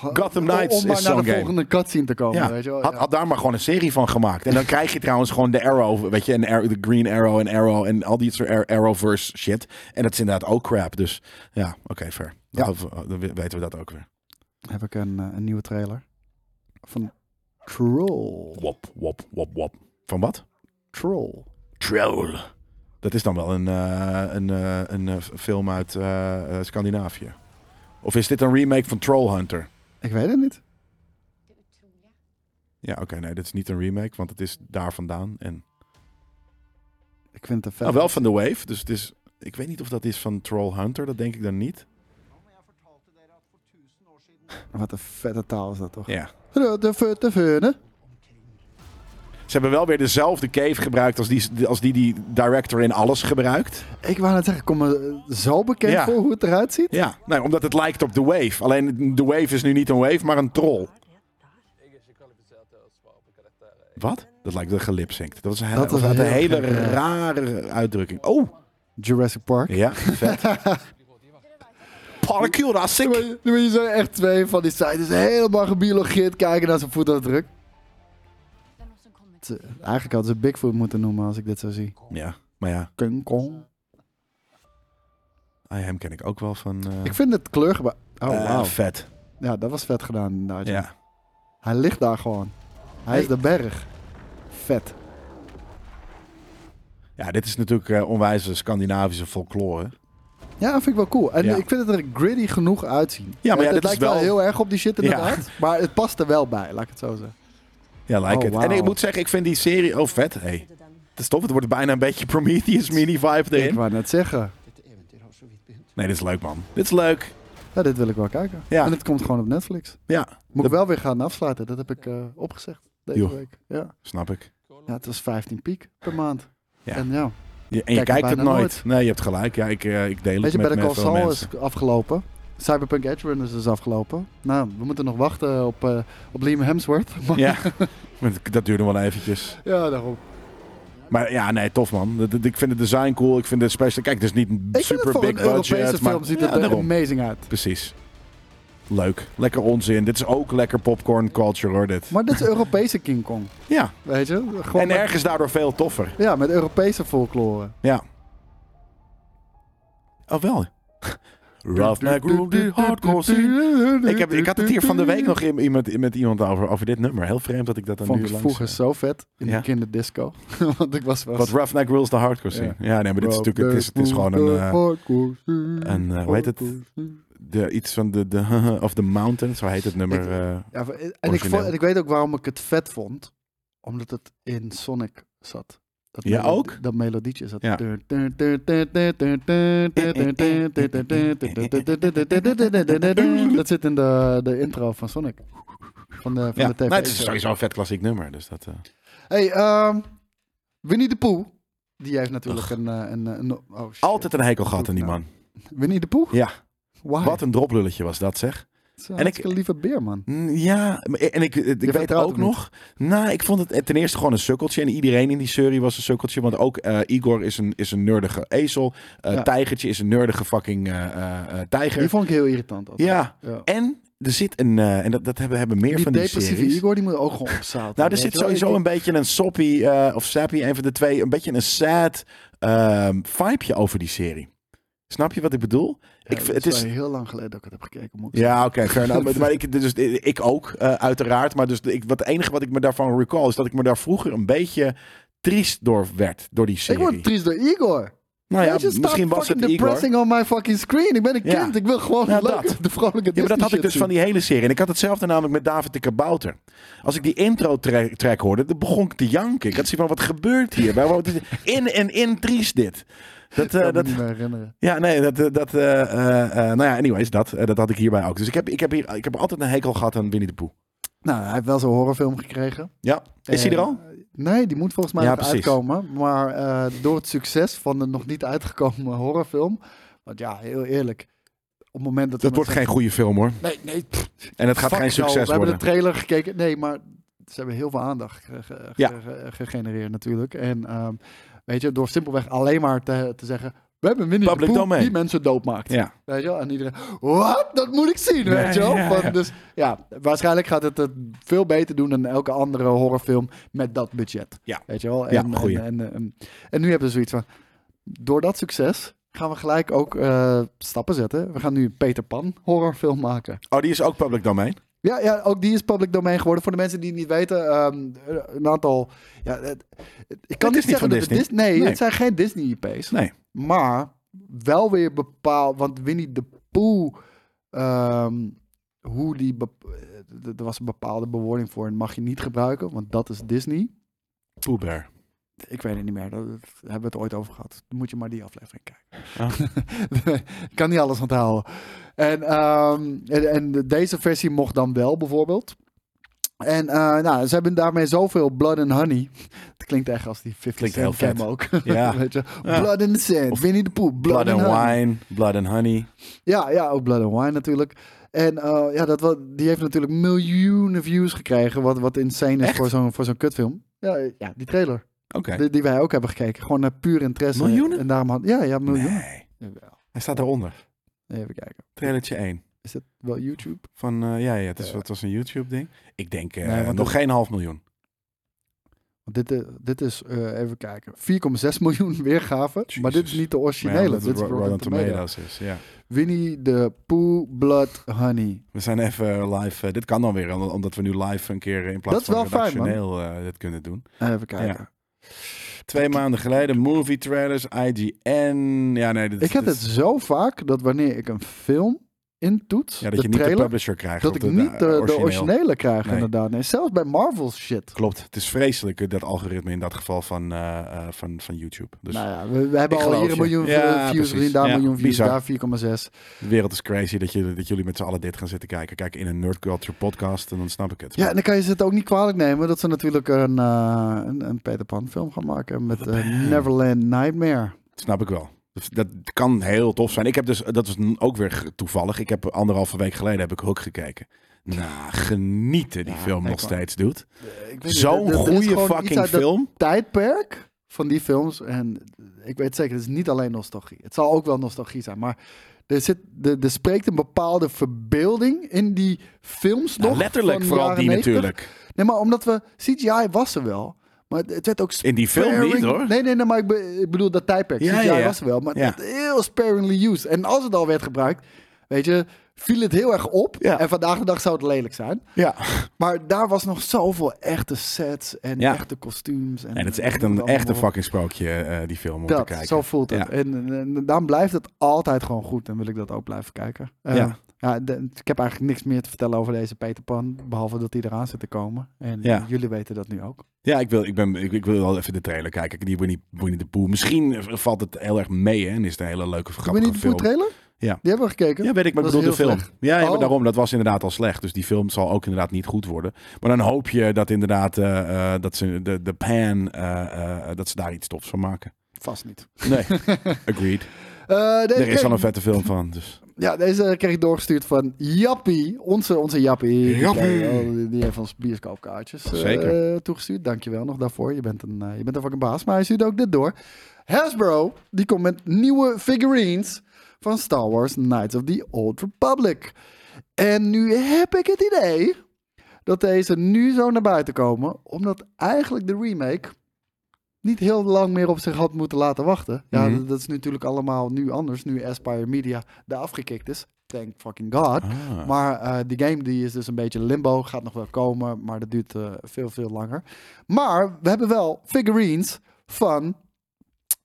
B: Gotham Knights
C: om maar
B: is
C: naar de
B: zo'n game.
C: volgende cutscene te komen,
B: Ja.
C: weet je wel.
B: Had,
C: Ja.
B: had daar maar gewoon een serie van gemaakt. En dan krijg je trouwens gewoon de Arrow, weet je, en Arrow- de Green Arrow en Arrow en al die soort Ar- Arrowverse shit. En dat is inderdaad ook crap. Dus ja, oké, fair. Dan, dan weten we dat ook weer.
C: heb ik een, eh, een nieuwe trailer. Van Troll.
B: Wop, wop, wop, wop. Van wat?
C: Troll.
B: Troll. Dat is dan wel een, eh, een, eh, een eh, film uit eh, eh, Scandinavië. Of is dit een remake van Trollhunter?
C: Ik weet het niet.
B: Ja, oké, nee, dit is niet een remake, want het is daar vandaan. En,
C: Ik vind het een vet.
B: nou, wel van The Wave, dus het is... Ik weet niet of dat is van Trollhunter, dat denk ik dan niet.
C: Wat een vette taal is dat toch?
B: Ja.
C: Grote vette veunen.
B: Ze hebben wel weer dezelfde cave gebruikt als die als die, die director in alles gebruikt.
C: Ik wou net zeggen, ik kom me zo bekend
B: Ja.
C: voor hoe het eruit ziet.
B: Ja, nee, omdat het lijkt op The Wave. Alleen The Wave is nu niet een wave, maar een troll. Wat? Dat lijkt wel gelipzinkt. Dat was een,
C: Dat was
B: dat was een
C: heel
B: hele
C: gek, eh, ja.
B: rare uitdrukking. Oh,
C: Jurassic Park.
B: ja,
C: [laughs]
B: vet. Parkour,
C: Dan ben
B: sick.
C: je- dan ben je zo echt twee van die sites helemaal gebiologeerd kijken naar zijn voetafdruk. Het, eh, Eigenlijk hadden ze Bigfoot moeten noemen als ik dit zo zie.
B: Ja, maar ja,
C: King Kong.
B: I Am ken ik ook wel van... eh,
C: Ik vind het kleurgebouw... Oh,
B: eh,
C: wauw.
B: Vet,
C: Ja, dat was vet gedaan inderdaad.
B: ja.
C: Hij ligt daar gewoon. Hij is de berg. Vet.
B: Ja, dit is natuurlijk eh, onwijze Scandinavische folklore.
C: Ja, vind ik wel cool. En
B: Ja.
C: ik vind het er gritty genoeg uitzien.
B: ja,
C: het,
B: dit
C: het
B: is
C: lijkt wel...
B: wel-
C: heel erg op die shit
B: Ja.
C: inderdaad. Maar het past er wel bij, laat ik het zo zeggen.
B: Ja, like
C: Oh,
B: het. En
C: wauw.
B: ik moet zeggen, ik vind die serie... Oh, vet. Hey. Dat is tof. Het wordt bijna een beetje [laughs] Prometheus mini-vibe
C: Ik
B: erin.
C: wou net zeggen.
B: Nee, dit is leuk, man. Dit is leuk.
C: Ja, dit wil ik wel kijken.
B: Ja.
C: En het komt gewoon op Netflix.
B: Ja,
C: Moet
B: dat
C: ik wel weer gaan afsluiten. Dat heb ik eh, opgezegd deze
B: Joh.
C: week. Ja.
B: snap ik.
C: ja, het was 15 piek per maand.
B: Ja.
C: En ja,
B: Je, en je
C: Kijk het
B: kijkt het
C: bijna
B: nooit.
C: nooit.
B: Nee, je hebt gelijk. Ja, ik, eh, ik deel
C: weet
B: het
C: je,
B: met,
C: Better Call
B: met veel
C: Saul
B: mensen.
C: is afgelopen. Cyberpunk Edge Runners is afgelopen. Nou, we moeten nog wachten op, eh, op Liam
B: [laughs]
C: Hemsworth. Maar-
B: Ja, want dat duurde wel eventjes.
C: ja, daarom.
B: Maar ja, nee, tof man. Dat- dat- Ik vind het design cool. Ik vind het special. Kijk, het is niet een
C: Ik vind het
B: super
C: voor
B: big
C: een Europese
B: budget.
C: film
B: Maar,
C: ziet
B: ja,
C: het er
B: daarom.
C: amazing uit.
B: Precies. Leuk. Lekker onzin. Dit is ook lekker popcorn culture hoor, dit.
C: Maar dit is Europese King Kong,
B: Ja,
C: weet je? Gewoon
B: en
C: met-
B: ergens daardoor veel toffer.
C: Ja, met Europese folklore.
B: Ja. Oh, [laughs] wel. Roughneck rule the hardcore scene. Ik, heb, ik had het hier van de week nog in- in- met, met iemand over, over dit nummer. Heel vreemd dat ik dat dan
C: Vond
B: nu
C: ik
B: langs...
C: vroeger zo vet in
B: Ja.
C: de kinderdisco. [laughs] Want ik was wel...
B: Wat Roughneck Rules the Hardcore scene. Ja, nee, maar dit is natuurlijk... Het is, het is gewoon een... eh, een, eh, hoe heet het? de, iets van de, de... [laughs] Of the Mountain, zo heet het nummer.
C: Ik-
B: eh.
C: Ja, maar- en, ik vond,
B: Origineel.
C: en ik weet ook waarom ik het vet vond. Omdat het in Sonic zat. Dat
B: Ja,
C: melo-
B: ook?
C: Dat melodietje zat.
B: Ja.
C: [laughs] Dat zit in de, de intro van Sonic. Van de, van
B: ja,
C: de
B: nou,
C: tv.
B: het is sowieso een vet klassiek nummer. Dus dat, eh.
C: Hey, ehm Winnie de Pooh Die heeft natuurlijk een, eh, een, een, Oh shit.
B: Altijd een hekel gehad aan die man.
C: Winnie de Poeg?
B: Ja,
C: Ah.
B: wat een droplulletje was dat zeg.
C: En ik... een lieve beer, man.
B: Mm, Ja, maar- en ik, ik weet
C: vertrouwt
B: ook
C: hem niet.
B: nog. Nou, ik vond het eh, ten eerste gewoon een sukkeltje. En iedereen in die serie was een sukkeltje. Want ook eh, Igor is een, is een nerdige ezel. Eh,
C: Ja.
B: Tijgertje is een nerdige fucking eh, eh, eh, tijger.
C: Die vond ik heel irritant. altijd.
B: Ja.
C: Ja.
B: En er zit een. eh, en dat, dat hebben, hebben meer
C: Die
B: van die
C: depressieve
B: series.
C: Igor, die moet ook gewoon opzout.
B: Nou, er zit sowieso een beetje een soppy eh, of sappy, een van de twee. Een beetje een sad ehm vibeje over die serie. Snap je wat ik bedoel? ik,
C: ik,
B: vind-
C: het is wel heel lang geleden dat ik het heb gekeken. moet ik
B: Ja, oké, fair enough. Maar- Maar ik, dus, ik ook, eh, uiteraard. Maar dus, ik, wat, het enige wat ik me daarvan recall is dat ik me daar vroeger een beetje triest door werd, door die
C: zeggen.
B: serie.
C: Ik word triest door Igor.
B: nou ja,
C: Weet je, stop
B: misschien was
C: fucking
B: het Igor.
C: depressing on my fucking screen. Ik ben een
B: Ja.
C: kind. Ik wil gewoon
B: Ja,
C: leuk
B: dat.
C: [laughs] de vrolijke
B: Ja, maar dat had ik
C: Disney
B: dus
C: shit
B: van
C: zien.
B: die hele serie. En ik had hetzelfde namelijk met David de Kabouter. Als ik die intro tra- track hoorde, dan begon ik te janken. Ik had zoiets van, wat gebeurt hier? Waar wordt dit- In en in triest dit. Dat, eh,
C: Ik kan me
B: dat,
C: niet meer herinneren.
B: Ja, nee, dat, eh, dat eh, eh, eh, nou ja, anyways, dat, eh, dat had ik hierbij ook. Dus ik heb, ik heb, hier, ik heb altijd een hekel gehad aan Winnie de Pooh.
C: Nou, hij heeft wel zo'n horrorfilm gekregen.
B: Ja, is hij er
C: En,
B: al?
C: eh, Nee, die moet volgens mij
B: Ja,
C: nog
B: precies.
C: uitkomen. Maar eh, door het succes van de nog niet uitgekomen [laughs] horrorfilm. Want ja, heel eerlijk. Op het moment dat.
B: Dat
C: iemand
B: wordt
C: zegt,
B: geen goede film hoor.
C: [laughs] Nee, nee. pff,
B: En het gaat
C: fuck
B: geen
C: jou,
B: succes
C: We hebben
B: worden.
C: de trailer gekeken. Nee, maar ze hebben heel veel aandacht ge- ge-
B: Ja.
C: ge- ge- gegenereerd natuurlijk. En ehm, weet je, door simpelweg alleen maar te, te zeggen. We hebben Winnie de
B: Public
C: Pooh
B: domain.
C: die mensen doodmaakt.
B: Ja.
C: Weet je wel? En iedereen, wat? Dat moet ik zien, weet je wel?
B: Ja, ja,
C: Van,
B: ja.
C: Dus ja, waarschijnlijk gaat het het veel beter doen dan elke andere horrorfilm met dat budget.
B: Ja.
C: Weet je wel?
B: Ja,
C: En,
B: goeie.
C: en, en, en, en nu hebben ze zoiets van, door dat succes gaan we gelijk ook eh, stappen zetten. We gaan nu een Peter Pan horrorfilm maken.
B: Oh, die is ook public domein.
C: Ja, ja, ook die is public domein geworden. Voor de mensen die het niet weten, ehm, een aantal... Ja, het- ik
B: is niet
C: kan niet zeggen
B: van
C: dat het
B: Disney.
C: Dis- nee,
B: Nee.
C: het zijn geen Disney-IP's.
B: Nee.
C: Maar wel weer bepaald, want Winnie de Pooh, ehm, hoe die, bep- eh, er was een bepaalde bewoording voor en mag je niet gebruiken, want dat is Disney.
B: Pooh Bear.
C: Ik weet het niet meer, daar hebben we het ooit over gehad. Dan moet je maar die aflevering kijken.
B: Ah.
C: ik [laughs] kan niet alles onthouden. En, ehm, en, en deze versie mocht dan wel, bijvoorbeeld. En eh, nou, ze hebben daarmee zoveel blood and honey. [laughs] Het klinkt echt als die 50
B: Klinkt
C: Cent
B: heel
C: cam ook. [laughs]
B: Ja.
C: Weet je?
B: Ja.
C: Blood in the sand, Winnie the Pooh, blood,
B: Blood
C: and
B: and
C: honey.
B: wine, blood and honey.
C: Ja, ja, ook Blood and Wine natuurlijk. En eh, ja, dat, wa- die heeft natuurlijk miljoenen views gekregen. Wat, wat insane is
B: Echt?
C: voor zo'n, voor zo'n kutfilm. Ja, eh, ja, die trailer.
B: Oké.
C: Die, die wij ook hebben gekeken. Gewoon naar puur interesse.
B: Miljoenen?
C: En daarom had, ja, ja, miljoenen.
B: Nee,
C: Jawel.
B: hij staat daaronder.
C: Even kijken.
B: Trailertje 1.
C: Is dat wel YouTube?
B: Van, eh, ja, ja, het, is,
C: Ja.
B: het was een YouTube-ding. Ik denk eh,
C: Nee, want
B: nog
C: het-
B: geen half miljoen.
C: Want dit, eh, dit is, eh, even kijken, 4,6 miljoen [laughs] weergaven. Maar dit is
B: Jezus.
C: niet de
B: Maar ja,
C: originele.
B: omdat
C: Dit is
B: het Ro-
C: Rotten
B: Rotten
C: Tomatoes.
B: Tomatoes is. Ja.
C: Winnie the Pooh Blood Honey.
B: We zijn even live. eh, dit kan dan weer, om- omdat we nu live een keer in plaats
C: Dat is
B: van
C: wel fijn, man.
B: redactioneel eh, dit kunnen doen.
C: Even kijken.
B: Twee maanden geleden, movie trailers, IGN. Ja, nee, dit,
C: Ik heb
B: dit-
C: het zo vaak dat wanneer ik een film intoets,
B: Ja, dat je
C: de
B: niet de
C: trailer,
B: publisher krijgt.
C: dat
B: of
C: ik niet de, de
B: origineel.
C: originele krijg
B: Nee.
C: inderdaad. Nee, zelfs bij Marvel shit.
B: Klopt, het is vreselijk eh, dat algoritme in dat geval van, eh, eh, van, van YouTube. Dus
C: nou ja, we, we hebben
B: Ik
C: al
B: geloof
C: hier een
B: je.
C: miljoen
B: Ja,
C: views
B: precies.
C: gezien, daar een
B: Ja,
C: miljoen views,
B: bizar.
C: daar 4,6.
B: de wereld is crazy dat, je, dat jullie met z'n allen dit gaan zitten kijken. Kijk, in een nerd culture podcast en dan snap ik het.
C: Ja, en dan kan je ze het ook niet kwalijk nemen dat ze natuurlijk een, eh, een, een Peter Pan film gaan maken met eh, Neverland Nightmare.
B: Dat snap ik wel. Dus Dat kan heel tof zijn. Ik heb dus, dat is n- ook weer ge- toevallig. Ik heb anderhalve week geleden heb ik Hook gekeken. Nou, genieten die
C: Ja,
B: film
C: nee,
B: nog
C: man.
B: steeds, dude.
C: Eh, ik weet niet, er- er-
B: Zo'n
C: er is
B: goede
C: gewoon iets
B: fucking
C: uit dat
B: film.
C: tijdperk van die films. En ik weet zeker, het is niet alleen nostalgie. Het zal ook wel nostalgie zijn, maar er, zit, er, er spreekt een bepaalde verbeelding in die films
B: Nou,
C: nog.
B: letterlijk
C: van
B: vooral
C: jaren
B: die
C: 90.
B: natuurlijk.
C: Nee, maar omdat we... CGI was er wel, maar het- het werd ook...
B: In die film
C: sparing-
B: niet, hoor.
C: Nee, nee, nee, maar ik, be- ik bedoel dat tijdperk.
B: Ja,
C: CGI
B: ja, ja.
C: was er wel, maar
B: Ja.
C: het werd heel sparingly used. En als het al werd gebruikt, weet je, viel het heel erg op.
B: Ja.
C: En vandaag de dag zou het lelijk zijn.
B: Ja.
C: Maar daar was nog zoveel echte sets en
B: Ja.
C: echte kostuums. En,
B: En het is
C: en
B: echt
C: noem
B: een,
C: allemaal
B: echt een
C: op.
B: fucking sprookje, eh, die film, om te
C: Dat,
B: kijken.
C: zo voelt het.
B: Ja.
C: En, en, en daarom blijft het altijd gewoon goed. En wil ik dat ook blijven kijken. Eh,
B: Ja.
C: ja, de- ik heb eigenlijk niks meer te vertellen over deze Peter Pan. Behalve dat hij eraan zit te komen. En
B: Ja.
C: jullie weten dat nu ook.
B: Ja, ik wil, ik, ben, ik, ik wil wel even de trailer kijken. Die Winnie, Winnie de Pooh. Misschien eh, valt het heel erg mee hè, en is het een hele leuke,
C: Hebben we
B: grappige
C: niet de
B: film.
C: trailer?
B: Ja.
C: Die hebben we gekeken.
B: Ja, weet ik, maar ik
C: Dat is
B: bedoel de
C: heel
B: film. Ja, ja, maar
C: Oh.
B: daarom, dat was inderdaad al slecht. Dus die film zal ook inderdaad niet goed worden. Maar dan eh, hoop je dat inderdaad, eh, eh, dat ze de, de pan, eh, eh, dat ze daar iets tofs van maken.
C: Vast niet. [laughs]
B: Nee, agreed.
C: Eh, deze
B: Er is
C: kreeg-
B: al een vette film van, dus...
C: Ja, deze kreeg ik doorgestuurd van Jappie. Onze, onze Jappie.
B: Jappie.
C: Die, die heeft ons bioscoopkaartjes eh,
B: Zeker.
C: toegestuurd. Dankjewel nog daarvoor. Je bent, een, eh, je bent een fucking baas. Maar hij stuurt ook dit door. Hasbro, die komt met nieuwe figurines van Star Wars Knights of the Old Republic. En nu heb ik het idee dat deze nu zo naar buiten komen. Omdat eigenlijk de remake niet heel lang meer op zich had moeten laten wachten. Ja,
B: Mhm.
C: dat- dat is nu natuurlijk allemaal nu anders. Nu Aspire Media daar afgekikt is. Thank fucking god.
B: Ah.
C: Maar eh, die game die is dus een beetje limbo. Gaat nog wel komen, maar dat duurt eh, veel, veel langer. Maar we hebben wel figurines van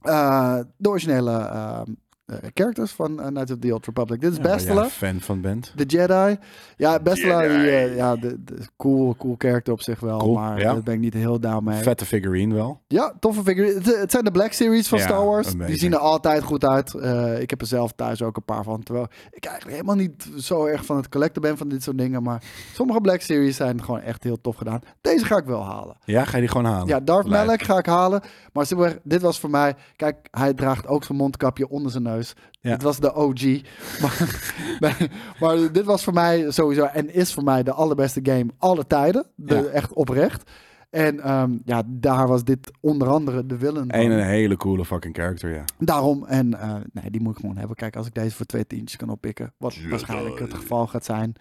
C: eh, de originele eh, eh, characters van eh, Knights of the Old Republic. Dit is
B: Ja, waar jij
C: Bastila.
B: fan van bent.
C: De Jedi. Ja, Bastila, die, eh, ja, de, de- cool, cool character op zich wel.
B: Cool,
C: maar
B: ja.
C: daar ben ik niet heel down mee.
B: Vette figurine wel.
C: Ja, toffe figurines. Het, het zijn de Black Series van
B: Ja,
C: Star Wars. Die
B: amazing.
C: zien er altijd goed uit. Eh, ik heb er zelf thuis ook een paar van. Terwijl ik eigenlijk helemaal niet zo erg van het collecten ben van dit soort dingen. Maar sommige Black Series zijn gewoon echt heel tof gedaan. Deze ga ik wel halen.
B: Ja, ga je die gewoon halen?
C: Ja, Darth
B: Lijp.
C: Malak ga ik halen. Maar simpelweg, dit was voor mij... Kijk, hij draagt ook zijn mondkapje onder zijn neus.
B: Ja.
C: Dit was de OG. [laughs] Maar, nee, maar dit was voor mij sowieso en is voor mij de allerbeste game alle tijden. De,
B: Ja.
C: Echt oprecht. En ehm, ja, daar was dit onder andere de willen van.
B: En een hele coole fucking character, ja.
C: Daarom, en eh, nee, die moet ik gewoon hebben. Kijk, als ik deze voor twee tientjes kan oppikken, wat waarschijnlijk het geval gaat zijn,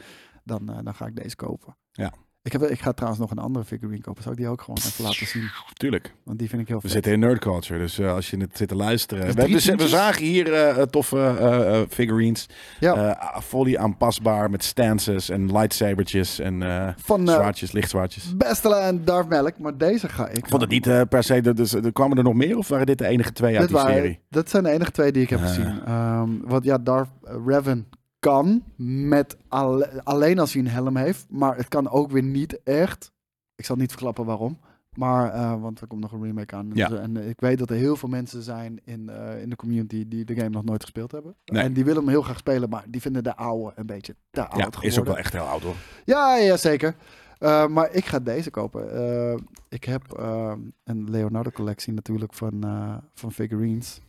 C: dan, eh, dan ga ik deze kopen.
B: Ja.
C: Ik, heb, ik ga trouwens nog een andere figurine kopen. Zal ik die ook gewoon even laten zien?
B: Tuurlijk.
C: Want die vind ik heel
B: We
C: vet.
B: zitten in nerd culture, dus eh, als je het zit te luisteren.
C: Dus
B: we,
C: drie
B: we, we
C: tientjes?
B: zagen hier eh, toffe eh, eh, figurines.
C: Ja.
B: Eh, volley aanpasbaar met stances en lightsabertjes en eh
C: Van eh,
B: zwaardjes, lichtzwaardjes.
C: Bestela en Darth Melk, maar deze ga ik.
B: Ik vond het niet eh, per se, de- dus, er kwamen er nog meer of waren dit de enige twee uit
C: Dit
B: die
C: waren-
B: serie?
C: dat zijn de enige twee die ik heb
B: Ah.
C: gezien. Ehm, want ja, Darth eh, Revan kan met alle- alleen als hij een helm heeft, maar het kan ook weer niet echt. Ik zal niet verklappen waarom. Maar, eh, want er komt nog een remake aan.
B: Ja.
C: Dus, eh, en eh, ik weet dat er heel veel mensen zijn in, eh, in de community die de game nog nooit gespeeld hebben.
B: Nee.
C: En die willen hem heel graag spelen, maar die vinden de oude een beetje te oud
B: Ja,
C: geworden.
B: is ook wel echt heel oud hoor.
C: Ja, ja zeker. Eh, maar ik ga deze kopen. Eh, ik heb eh, een Leonardo collectie natuurlijk van, eh, van figurines.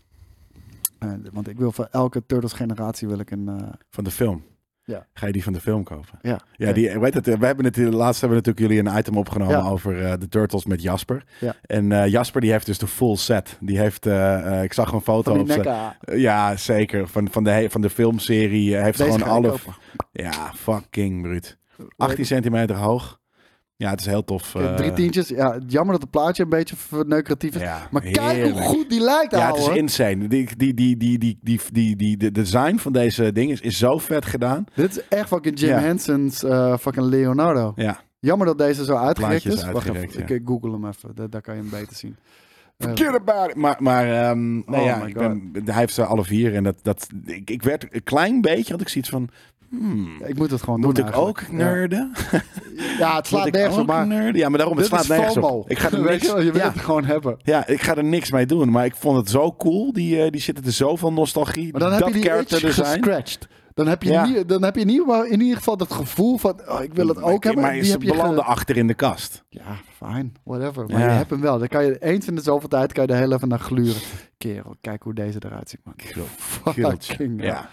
C: Eh, want ik wil voor elke Turtles generatie wil ik een... eh,
B: Van de film.
C: Ja.
B: Ga je die van de film kopen?
C: ja,
B: Ja, die, eh, weet het, we hebben het hier- laatst hebben we natuurlijk jullie een item opgenomen
C: Ja.
B: over eh, de Turtles met Jasper.
C: Ja.
B: En eh, Jasper die heeft dus de full set. Die heeft, eh, eh, ik zag een foto
C: van die E
B: op zijn-
C: NECA.
B: Eh, Ja, zeker. Van, van, de, he- van de filmserie. eh, Hij heeft
C: Deze
B: gewoon
C: ga ik
B: alle.
C: kopen.
B: Ja, fucking bruut. 18 centimeter hoog. Ja, het is heel tof.
C: Eh,
B: eh,
C: Drie tientjes. Ja, jammer dat het plaatje een beetje verneukeratief is.
B: Ja,
C: maar kijk hoe
B: heerlijk.
C: goed die lijkt,
B: Ja, het
C: ouwe.
B: is insane. Die, die, die, die, die, die, die, die, de design van deze ding is, is zo vet gedaan.
C: Dit is echt fucking Jim
B: Ja.
C: Henson's eh, fucking Leonardo.
B: Ja.
C: Jammer dat deze zo uitgerekt
B: Plaatje
C: is.
B: is
C: Wacht
B: uitgerekt,
C: even,
B: ja.
C: ik google hem even. Da- daar kan je hem beter zien. Eh,
B: Forget about it. Maar, maar ehm, nou
C: Oh
B: ja,
C: my
B: ik ben, hij heeft ze alle vier. En dat, dat, ik, ik werd een klein beetje, had ik zoiets van... hmm,
C: ik moet het gewoon
B: moet
C: doen
B: ik
C: eigenlijk.
B: ook
C: Ja.
B: nerden?
C: Ja, het slaat
B: Moet ik
C: nergens op,
B: ook
C: maar
B: nerden? Ja, maar daarom, het
C: dit
B: slaat
C: is
B: nergens
C: FOMO.
B: op. Ik ga er
C: [laughs] Weet
B: niks,
C: je wel, je wilt
B: ja,
C: het gewoon hebben.
B: ja, ik ga er niks mee doen. Maar ik vond het zo cool. Die, eh, die zitten er zoveel nostalgie.
C: Maar dan
B: dat dus
C: heb je die
B: character
C: itch
B: design.
C: gescratcht. Dan heb je,
B: Ja.
C: niet, dan heb je in, ieder geval, in ieder geval dat gevoel van, oh, ik wil het ook hebben.
B: Maar
C: Die
B: ze
C: heb je ge-
B: belanden achter in de
C: [laughs]
B: kast.
C: Ja, fijn, whatever. Maar
B: Ja.
C: je hebt hem wel. Dan kan je eens in de zoveel tijd kan je er heel even naar gluren. Kerel, kijk hoe deze eruit ziet, man. Oh,
B: Grilltje.
C: [laughs] Fucking
B: Ja,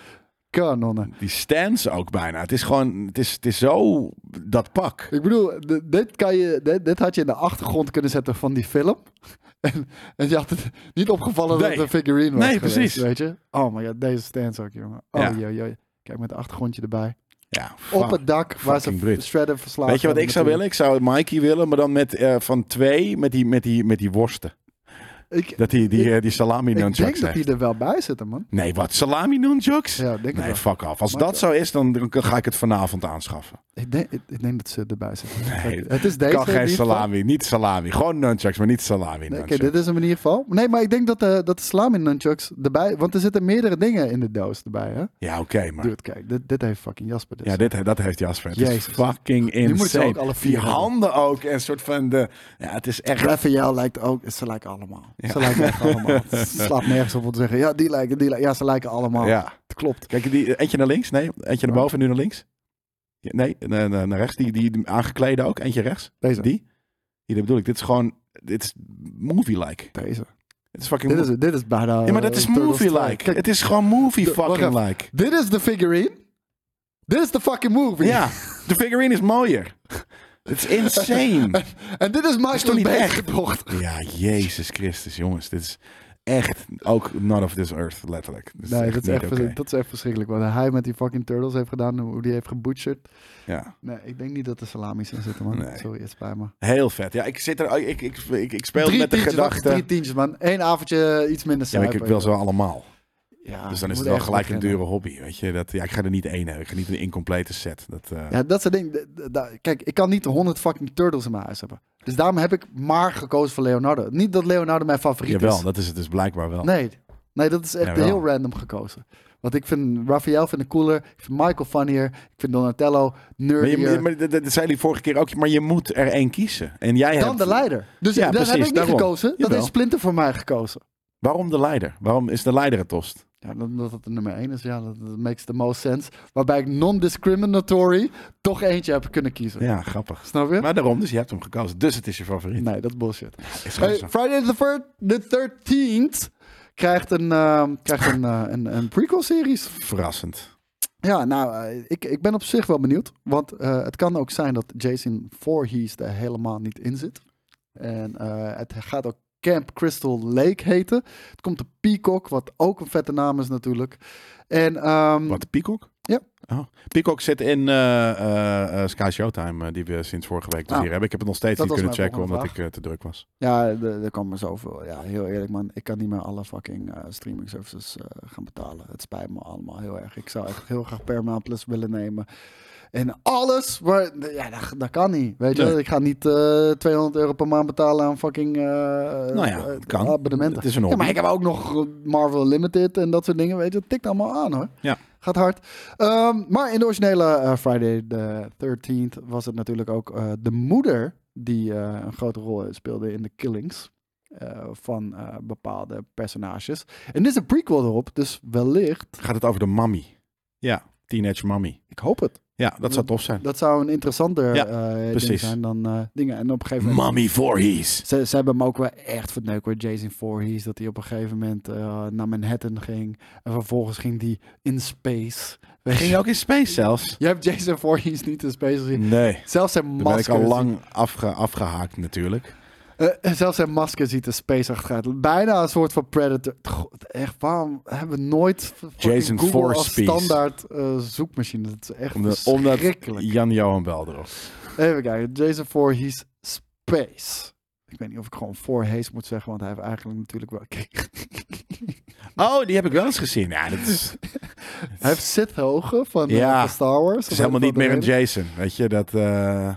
C: kanonnen.
B: die stands ook bijna. Het is gewoon, het is, het is zo dat pak.
C: Ik bedoel, d- dit, kan je, dit, dit had je in de achtergrond kunnen zetten van die film. [laughs] En, en je had het niet opgevallen dat
B: Nee.
C: het een figurine was
B: Nee,
C: geweest,
B: precies.
C: weet je? Oh my god, deze stands ook, jongen. Oh,
B: Ja.
C: joh, joh. Kijk, met een achtergrondje erbij.
B: Ja,
C: Op het dak waar ze
B: fucking Brit.
C: Shredder verslagen
B: Weet je wat ik
C: hebben
B: zou willen?
C: natuurlijk.
B: Ik zou Mikey willen, maar dan met eh, van twee met die, met die, met die worsten.
C: Ik,
B: Dat die, die,
C: Ik-
B: eh, die salami
C: ik denk
B: nunchucks
C: dat
B: heeft.
C: die er wel bij zitten, man.
B: Nee, wat? Salami nunchucks?
C: Ja, ik denk het
B: nee,
C: wel.
B: fuck af. Als
C: Maar
B: dat
C: ik-
B: zo is, dan, dan ga ik het vanavond aanschaffen.
C: Ik denk, ik, ik denk dat ze erbij zitten.
B: Nee,
C: het is deze.
B: kan
C: in
B: geen
C: ieder geval.
B: salami. Niet salami. Gewoon nunchucks, maar niet salami
C: Nee, Oké,
B: nunchucks.
C: dit is hem in ieder geval. Nee, maar ik denk dat de, dat de salami nunchucks erbij... Want er zitten meerdere dingen in de doos erbij, hè?
B: Ja, oké, maar...
C: Dude, kijk, dit, dit heeft fucking Jasper dus.
B: Ja, dit, dat heeft Jasper. Het
C: Jezus.
B: is fucking insane.
C: moet ze ook alle vier
B: die
C: hebben.
B: handen ook en een soort van de... Ja, het is echt...
C: Raphaël lijkt ook, ze lijken allemaal. Ze lijken echt
B: [laughs]
C: allemaal. Het slaat nergens op om te zeggen, ja, die lijken, die lijken. Ja, ze lijken allemaal.
B: Ja.
C: Het klopt.
B: Kijk, die, eentje naar links? Nee. Eentje naar boven, nu naar links? Ja, Nee, naar, naar naar rechts. Die, die, die aangeklede ook. Eentje rechts.
C: Deze.
B: Die? Die dat bedoel ik. Dit is gewoon... Dit is movie-like.
C: Deze.
B: Het is fucking...
C: Dit is, dit is bijna...
B: ja, maar dat
C: eh,
B: is
C: Turtles Strike.
B: movie-like.
C: Kijk,
B: Het is gewoon movie
C: de- wacht
B: fucking
C: even.
B: like.
C: Dit is de figurine. Dit is de fucking movie.
B: Ja, de figurine is
C: [laughs]
B: mooier. Het is insane.
C: En dit is
B: toch
C: Michael
B: niet
C: Bay
B: echt?
C: gebracht.
B: Ja, Jezus Christus, jongens. Dit is echt ook not of this earth, letterlijk. Dit
C: Nee, dat is, echt,
B: niet
C: vers-
B: oké.
C: dat is echt verschrikkelijk. Wat hij met die fucking turtles heeft gedaan, hoe die heeft gebutcherd.
B: Ja.
C: Nee, ik denk niet dat er salamis in zitten, man.
B: Nee.
C: Sorry, het spijt me.
B: Heel vet. Ja, ik zit er... Ik, ik, ik, ik speel
C: Drie
B: met de
C: tientjes, wacht,
B: gedachte...
C: drie tientjes, man. Eén avondje iets minder
B: Ja, maar ik,
C: suiker.
B: ik wil ze wel allemaal.
C: Ja,
B: dus dan
C: Ah,
B: is
C: je moet
B: het wel
C: echt
B: gelijk een
C: beginnen.
B: dure hobby. Weet je? Dat, ja, ik ga er niet één hebben. Ik ga niet een incomplete set. Dat, eh,
C: Ja, dat soort dingen. D- d- da- Kijk, ik kan niet 100 fucking turtles in mijn huis hebben. Dus daarom heb ik maar gekozen voor Leonardo. Niet dat Leonardo mijn favoriet
B: jawel,
C: is.
B: dat is het dus blijkbaar wel.
C: Nee, nee, dat is echt
B: Jawel.
C: heel random gekozen. Want ik vind Raphaël vind ik cooler. Ik vind Michael funnier. Ik vind Donatello
B: Maar,
C: nerdier
B: je, maar dat, dat zei jullie vorige keer ook. Maar je moet er één kiezen. En jij
C: dan
B: hebt...
C: de leider. Dus
B: Ja,
C: dat heb
B: precies,
C: ik niet
B: daarom.
C: gekozen. Dat
B: Jawel.
C: is Splinter voor mij gekozen.
B: Waarom de leider? Waarom is de leider het tost?
C: Ja, omdat het de nummer 1 is. Ja, dat, dat makes the most sense. Waarbij ik non-discriminatory toch eentje heb kunnen kiezen.
B: Ja, grappig.
C: Snap je?
B: Maar daarom, dus je hebt hem gekozen. Dus het is je favoriet.
C: Nee, dat is bullshit.
B: Is gewoon
C: Hey,
B: zo.
C: Friday the, thir- the 13th krijgt een, ehm, krijgt een, eh, een, een prequel-series.
B: Verrassend.
C: Ja, nou, eh, ik, ik ben op zich wel benieuwd. Want eh, het kan ook zijn dat Jason Voorhees er helemaal niet in zit. En eh, het gaat ook Camp Crystal Lake heten. Het komt de Peacock, wat ook een vette naam is natuurlijk. En ehm,
B: Wat, Peacock?
C: Ja.
B: Oh. Peacock zit in eh, eh, eh, Sky Showtime, eh, die we sinds vorige week dus
C: Ah.
B: hier hebben. Ik heb het nog steeds
C: Dat
B: niet
C: was
B: kunnen
C: mijn
B: checken, omdat
C: volgende
B: ik eh, te druk was.
C: ja, er er komen zoveel. Ja, heel eerlijk man. Ik kan niet meer alle fucking eh, streaming services eh, gaan betalen. Het spijt me allemaal heel erg. Ik zou echt heel graag Paramount Plus willen nemen. En alles, waar, ja, dat, dat kan niet. Weet je,
B: Nee.
C: wel? ik ga niet eh, 200 euro per maand betalen aan fucking eh,
B: Nou ja, het
C: eh,
B: kan.
C: abonnementen.
B: Het is een hobby.
C: Ja, maar ik heb ook nog Marvel Limited en dat soort dingen. Weet je, dat tikt allemaal aan hoor.
B: Ja.
C: Gaat hard. Ehm, maar in de originele eh, Friday the 13th was het natuurlijk ook eh, de moeder die eh, een grote rol speelde in de killings. eh, van eh, bepaalde personages. En dit is een prequel erop, dus wellicht,
B: Gaat het over de mammy? Ja, Teenage Mammy.
C: ik hoop het,
B: Ja, dat zou tof zijn.
C: dat zou een interessanter
B: Ja,
C: eh, ding
B: precies.
C: zijn dan eh, dingen. En op een gegeven moment...
B: Mammy Voorhees.
C: Ze, ze hebben hem ook wel echt verneukt hoor, Jason Voorhees. Dat hij op een gegeven moment eh, naar Manhattan ging. En vervolgens ging die in space. Weet
B: Ging
C: je?
B: je ook in space zelfs?
C: [laughs] Je hebt Jason Voorhees niet in space gezien.
B: Nee.
C: Zelfs zijn
B: Daar ben ik
C: masker,
B: al lang afge- afgehaakt natuurlijk.
C: ziet- eh, zelfs zijn masker ziet er space achteruit. Bijna een soort van Predator. God, echt, waarom hebben we nooit fucking
B: Jason
C: Google als
B: Voorspies.
C: standaard eh, zoekmachine? Dat is echt
B: Omdat, omdat
C: verschrikkelijk.
B: Jan-Johan Bel erop.
C: Even kijken. Jason Voorhees Space. Ik weet niet of ik gewoon Voorhees moet zeggen, want hij heeft eigenlijk natuurlijk wel... [laughs]
B: Oh, die heb ik wel eens gezien. Ja, dat is,
C: Hij heeft Sith Hoge van, eh,
B: Ja.
C: van Star Wars.
B: het is helemaal niet meer een Jason. Weet je, dat... eh,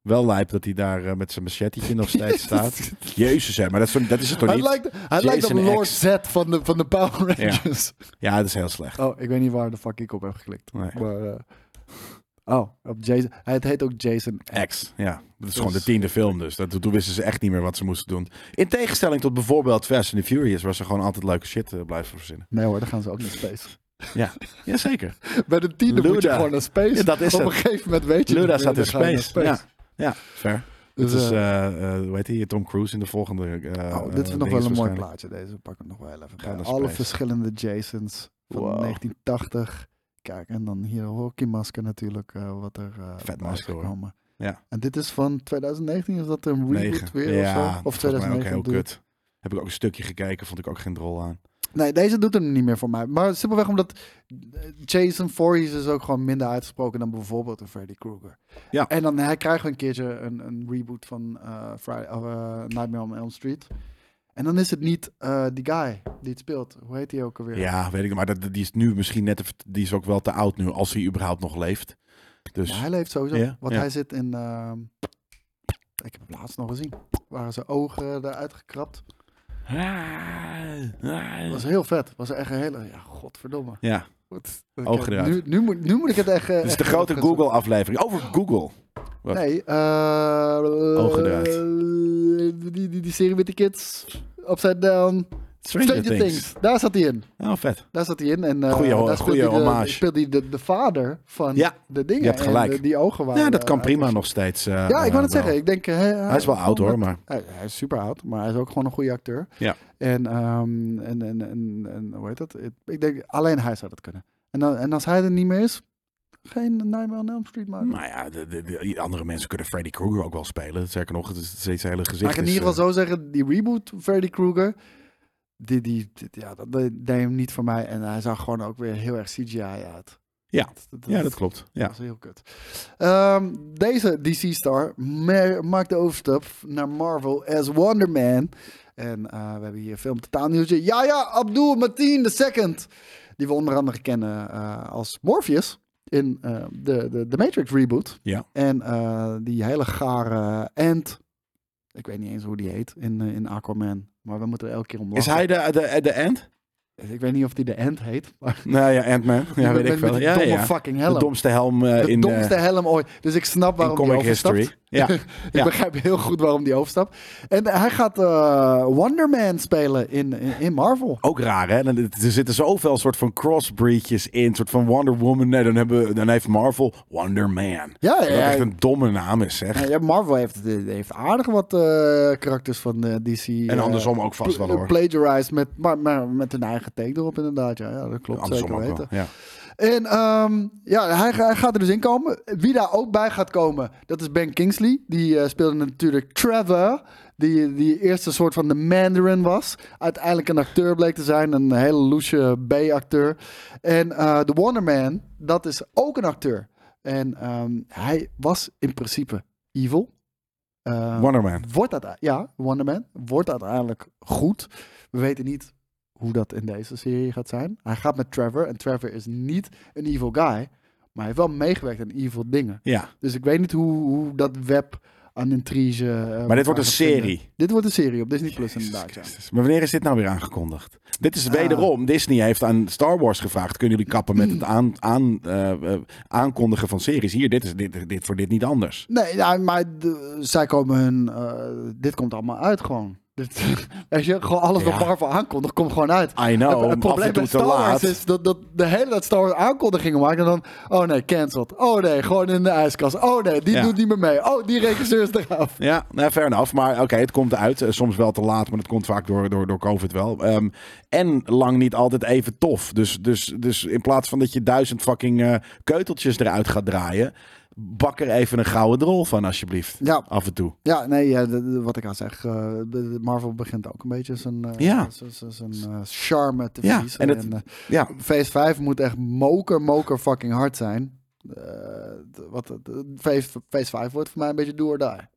B: wel lijp dat hij daar eh, met zijn machetietje nog
C: [laughs]
B: steeds staat. Jezus, hè, maar dat is, toch- dat is het toch
C: Hij
B: niet?
C: lijkt, hij lijkt op
B: Jason
C: Lord
B: X.
C: Z van de, van de Power
B: Ja.
C: Rangers.
B: Ja, dat is heel slecht.
C: [laughs] Oh, ik weet niet waar de fuck ik op heb geklikt.
B: Nee.
C: Maar, eh, oh, op Jason. Hij het heet ook Jason X.
B: X, ja. Dat is gewoon de tiende film dus. Dat, toen wisten ze echt niet meer wat ze moesten doen. In tegenstelling tot bijvoorbeeld Fast and the Furious... waar ze gewoon altijd leuke shit eh, blijven verzinnen.
C: Nee hoor, dan gaan ze ook naar space.
B: Ja, jazeker.
C: Bij de tiende moet je
B: Luda.
C: gewoon naar space.
B: Ja, dat is
C: op
B: het.
C: een gegeven moment weet je
B: Luda
C: het
B: staat
C: niet meer,
B: in
C: dan ga je
B: space.
C: naar
B: Ja, ja, fair.
C: Dus,
B: Dus, is
C: eh,
B: eh, eh, hoe heet hij? Tom Cruise in de volgende... eh,
C: oh, dit is
B: eh,
C: nog
B: dinges
C: wel een mooi
B: waarschijnlijk.
C: plaatje. Deze pak ik nog wel even bij.
B: Gaan naar
C: Alle
B: space.
C: verschillende Jasons van
B: Wow.
C: 1980. Kijk, en dan hier de hockeymasker natuurlijk, eh, wat er eh,
B: Vet
C: bij
B: masker,
C: is
B: hoor.
C: gekomen.
B: Ja.
C: En dit is van 2019, is dat een reboot
B: Negen.
C: weer of zo? Of
B: volgens mij
C: 2019
B: ook heel
C: doe ik-
B: kut. Heb ik ook een stukje gekeken, vond ik ook geen drol aan.
C: Nee, deze doet hem niet meer voor mij. Maar simpelweg omdat eh, Jason Voorhees is ook gewoon minder uitgesproken dan bijvoorbeeld een Freddy Krueger.
B: Ja.
C: En dan hij krijgt een keertje een, een reboot van eh, Friday, of, eh, Nightmare on Elm Street. En dan is het niet eh, die guy die het speelt. Hoe heet hij ook alweer?
B: Ja, weet ik Maar dat, die is nu misschien net... even- Die is ook wel te oud nu, als hij überhaupt nog leeft. Dus...
C: Maar hij leeft sowieso.
B: Ja,
C: Want
B: ja.
C: hij zit in. ehm, ik heb het laatst nog gezien. Waren zijn ogen eruit gekrapt. Was heel vet. Was echt een hele. Ja, godverdomme.
B: Ja,
C: Goed.
B: Ogen eruit.
C: Nu, nu, moet, nu moet ik het echt.
B: dus de grote Google-aflevering. Over Google. Wat?
C: Nee, eh
B: Ogen eruit.
C: eh, Die, die, die serie met de kids. Upside Down.
B: Stranger, Things.
C: Daar zat hij in.
B: Oh, vet.
C: Daar zat hij in. En eh,
B: Goeie-
C: daar speelde
B: goeie
C: hij de-
B: hommage.
C: speelde hij de, de vader van
B: Ja,
C: de dingen.
B: je hebt gelijk.
C: En, eh, die ogen waren...
B: ja, dat kan
C: eh,
B: prima nog steeds. eh,
C: Ja, ik
B: eh,
C: wou het
B: wel.
C: zeggen. Ik denk, eh,
B: Hij is wel oud hoor, maar
C: Hij, hij is super oud, maar hij is ook gewoon een goede acteur.
B: Ja.
C: En, ehm, en, en, en, en hoe heet dat? Ik- Ik denk, alleen hij zou dat kunnen. En, dan, en als hij er niet meer is, geen Nightmare on Elm Street maken.
B: Nou ja, de, de- de- andere mensen kunnen Freddy Krueger ook wel spelen. Zeker nog, het is steeds hele gezicht. dus, eh,
C: Maar ik kan in
B: is,
C: ieder geval zo zeggen, die reboot Freddy Krueger, die, die, die- ja, dat dat deed hem niet voor mij. En hij zag gewoon ook weer heel erg CGI uit.
B: Ja.
C: dat,
B: eh, Ja, dat klopt. Ja.
C: Dat was heel kut. Ehm, deze DC-star maakt de overstap naar Marvel as Wonder Man. En eh, we hebben hier film totaal nieuwtje. Ja, ja, Abdul Mateen II. Die we onder andere kennen eh, als Morpheus in eh, de, de, de Matrix reboot.
B: Ja.
C: En eh, die hele gare Ant. Ik weet niet eens hoe die heet in, eh, in Aquaman. Maar we moeten er elke keer om
B: Is
C: lachen.
B: hij de, de, de Ant?
C: Ik weet niet of die de Ant heet. Maar
B: Nou ja, Ant-Man. Ja, weet
C: met-
B: ik
C: met
B: veel.
C: die
B: Ja,
C: domme
B: ja.
C: fucking helm.
B: De domste helm eh,
C: De
B: in, eh,
C: domste helm ooit. Dus ik snap
B: in
C: waarom die
B: comic
C: overstapt.
B: history. Ja.
C: [laughs] ik
B: Ja.
C: begrijp heel goed waarom die overstapt. En hij gaat eh Wonder Man spelen in, in, in Marvel.
B: Ook raar, hè? Dan- Er zitten zoveel soort van crossbreedjes in. soort van Wonder Woman. Nee, dan, hebben, we- dan heeft Marvel Wonder Man.
C: Ja,
B: Wat
C: ja,
B: echt
C: ja.
B: een domme naam is, zeg.
C: Nou ja, Marvel heeft, heeft aardig wat eh, karakters van eh, DC.
B: En
C: eh,
B: andersom ook vast wel,
C: pla-
B: hoor.
C: Plagiarized met, maar, maar met een eigen take erop inderdaad. Ja, ja dat klopt.
B: Andersom
C: zeker
B: ook
C: weten.
B: wel. Ja.
C: En ehm, ja, hij, ga- hij gaat er dus in komen. Wie daar ook bij gaat komen, dat is Ben Kingsley. Die eh, speelde natuurlijk Trevor. Die, die eerst een soort van de Mandarin was. Uiteindelijk een acteur bleek te zijn. Een hele loesje B-acteur. En eh The Wonder Man, dat is ook een acteur. En ehm, hij was in principe evil. Ehm,
B: Wonder Man.
C: Wordt dat, ja, Wonder Man wordt uiteindelijk goed. We weten niet hoe dat in deze serie gaat zijn. Hij gaat met Trevor en Trevor is niet een evil guy, maar hij heeft wel meegewerkt aan evil dingen.
B: Ja.
C: Dus ik weet niet hoe, hoe dat web aan intrige. eh,
B: Maar dit
C: elkaar
B: wordt een
C: gaat vinden.
B: serie.
C: Dit wordt een serie op Disney Plus
B: Jezus
C: inderdaad. ja. Ah.
B: Christus. Maar wanneer is dit nou weer aangekondigd? Dit is wederom, Disney heeft aan Star Wars gevraagd, kunnen jullie kappen met
C: [clears throat]
B: het aan, aan, eh, eh, aankondigen van series? Hier, dit is dit, dit voor dit niet anders.
C: Nee, ja, maar de- zij komen hun. eh, dit komt allemaal uit gewoon. Dit, [laughs] weet je, gewoon alles
B: Ja.
C: wat Marvel aankondigt, komt gewoon uit.
B: I know,
C: het,
B: af
C: het
B: en
C: probleem
B: toe
C: met
B: te
C: Star Wars
B: laat.
C: is dat, dat de hele tijd Star Wars aankondigingen maken en dan, oh nee, cancelled. Oh nee, gewoon in de ijskast. Oh nee, die
B: Ja.
C: doet niet meer mee. Oh, die regisseur is eraf.
B: Ja, nou, fair enough. Maar oké, het komt uit. Eh, Soms wel te laat, maar het komt vaak door, door, door COVID wel. Ehm, en lang niet altijd even tof. Dus, dus, dus in plaats van dat je duizend fucking eh, keuteltjes eruit gaat draaien, bak er even een gouden drol van alsjeblieft.
C: Ja.
B: Af en toe.
C: Ja, nee, ja, de- de- wat ik al zeg, eh, de- de Marvel begint ook een beetje zijn, eh,
B: Ja.
C: zijn, zijn- zijn, eh, charme te
B: Ja,
C: verliezen.
B: en het-
C: eh,
B: Ja,
C: Phase 5 moet echt moker, moker fucking hard zijn. Eh, d- wat, d- phase, phase 5 wordt voor mij een beetje door daar.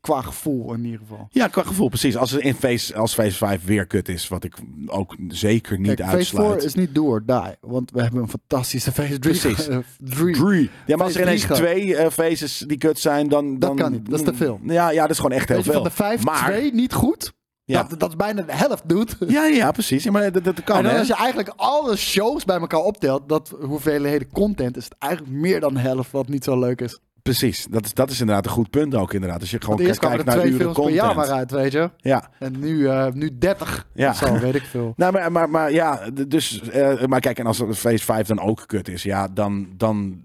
C: Qua gevoel in ieder geval.
B: Ja, qua gevoel, precies. Als, het in phase, als phase 5 weer kut is, wat ik ook zeker niet
C: Kijk,
B: uitsluit.
C: Phase 4 is niet do or die, want we hebben een fantastische Phase 3.
B: Precies.
C: [laughs] Drie.
B: Drie. Ja, maar als
C: Phase
B: er ineens
C: drie gaat.
B: twee eh, phases die kut zijn, dan, dan...
C: kan niet, dat is te veel.
B: Ja, ja dat is gewoon echt heel
C: Weet je,
B: veel.
C: van de vijf,
B: maar,
C: twee niet goed.
B: Ja.
C: Dat, dat is bijna de helft, dude.
B: Ja, ja, precies. Ja, maar dat, dat kan,
C: [laughs] en dan
B: hè?
C: als je eigenlijk alle shows bij elkaar optelt, dat hoeveelheden content, is het eigenlijk meer dan de helft wat niet zo leuk is.
B: Precies. Dat is, dat is inderdaad een goed punt ook, inderdaad. Als je gewoon
C: Want eerst
B: kijkt
C: kwamen er
B: Oh, naar
C: twee
B: uren
C: films per
B: content.
C: jaar maar uit, weet je.
B: Ja.
C: En nu, eh, nu 30.
B: Ja.
C: Of Zo weet ik [laughs] veel.
B: Nou, maar, maar, maar ja, d- dus... eh, maar kijk, en als phase 5 dan ook kut is, ja, dan... dan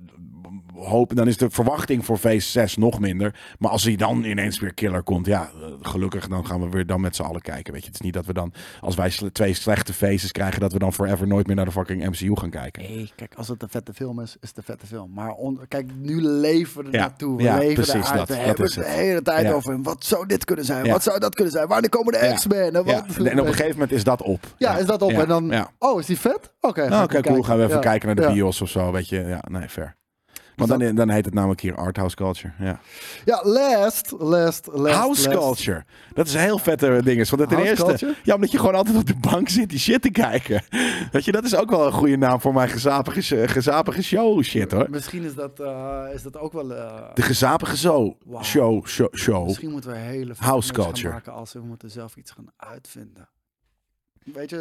B: Hoop, dan is de verwachting voor phase 6 nog minder. Maar als hij dan ineens weer killer komt, ja, eh, gelukkig dan gaan we weer dan met z'n allen kijken. Weet je, het is niet dat we dan, als wij sle- twee slechte faces krijgen, dat we dan forever nooit meer naar de fucking MCU gaan kijken.
C: Nee, kijk, als het een vette film is, is het een vette film. Maar on- kijk, nu leven we er
B: Ja,
C: naartoe. We
B: ja,
C: leven
B: precies, dat-
C: eruit. we
B: dat
C: hebben
B: is
C: het de
B: het.
C: hele tijd
B: Ja.
C: over. Wat zou dit kunnen zijn?
B: Ja.
C: Wat zou dat kunnen zijn? Wanneer komen de
B: Ja.
C: X-Men? En,
B: Ja,
C: nou, wat-
B: en op een gegeven moment is dat op.
C: ja, is dat op?
B: Ja,
C: En dan,
B: ja.
C: oh, is die vet? Oké,
B: Nou,
C: ga ik
B: oké, cool.
C: kijken.
B: Gaan we even
C: Ja.
B: kijken naar de
C: Ja.
B: bios of zo, weet je. Ja, nee, fair. Want
C: dat-
B: dan, dan heet het namelijk hier Arthouse Culture. Ja.
C: Ja, last, last, last.
B: House
C: last.
B: Culture. Dat is een heel vette ding. is, Want ten
C: House
B: eerste,
C: culture?
B: ja, omdat je gewoon altijd op de bank zit die shit te kijken. [laughs] Weet je, dat is ook wel een goede naam voor mijn gezapige, sh- gezapige show shit hoor.
C: Misschien is dat, eh, is dat ook wel... eh,
B: De gezapige zo
C: Wauw.
B: show, show, show.
C: Misschien moeten we hele veel
B: House
C: dingen gaan
B: culture.
C: maken als we moeten zelf iets gaan uitvinden. Weet je,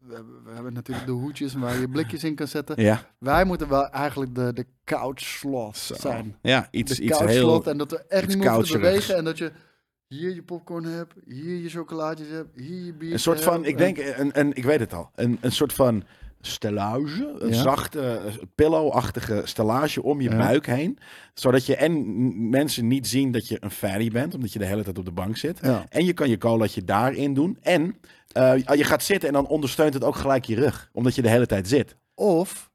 C: we hebben, we hebben natuurlijk de hoedjes waar je blikjes in kan zetten.
B: Ja,
C: Wij moeten wel eigenlijk de, de couch sloth
B: Zo.
C: zijn.
B: ja
C: De
B: iets,
C: couch
B: iets
C: sloth
B: heel...
C: en dat we echt
B: iets
C: niet meer hoeven te
B: coucherigs.
C: bewegen en dat je hier je popcorn hebt, hier je chocolaatjes hebt, hier je bier.
B: Een soort van, ik denk, en, en ik weet het al, een, een soort van stellage, een
C: Ja.
B: zachte, eh, pillow-achtige stellage om je
C: Ja.
B: buik heen. Zodat je en m- mensen niet zien dat je een fatty bent, omdat je de hele tijd op de bank zit.
C: Ja.
B: En je kan je colaatje daarin doen. En eh, je gaat zitten en dan ondersteunt het ook gelijk je rug, omdat je de hele tijd zit.
C: Of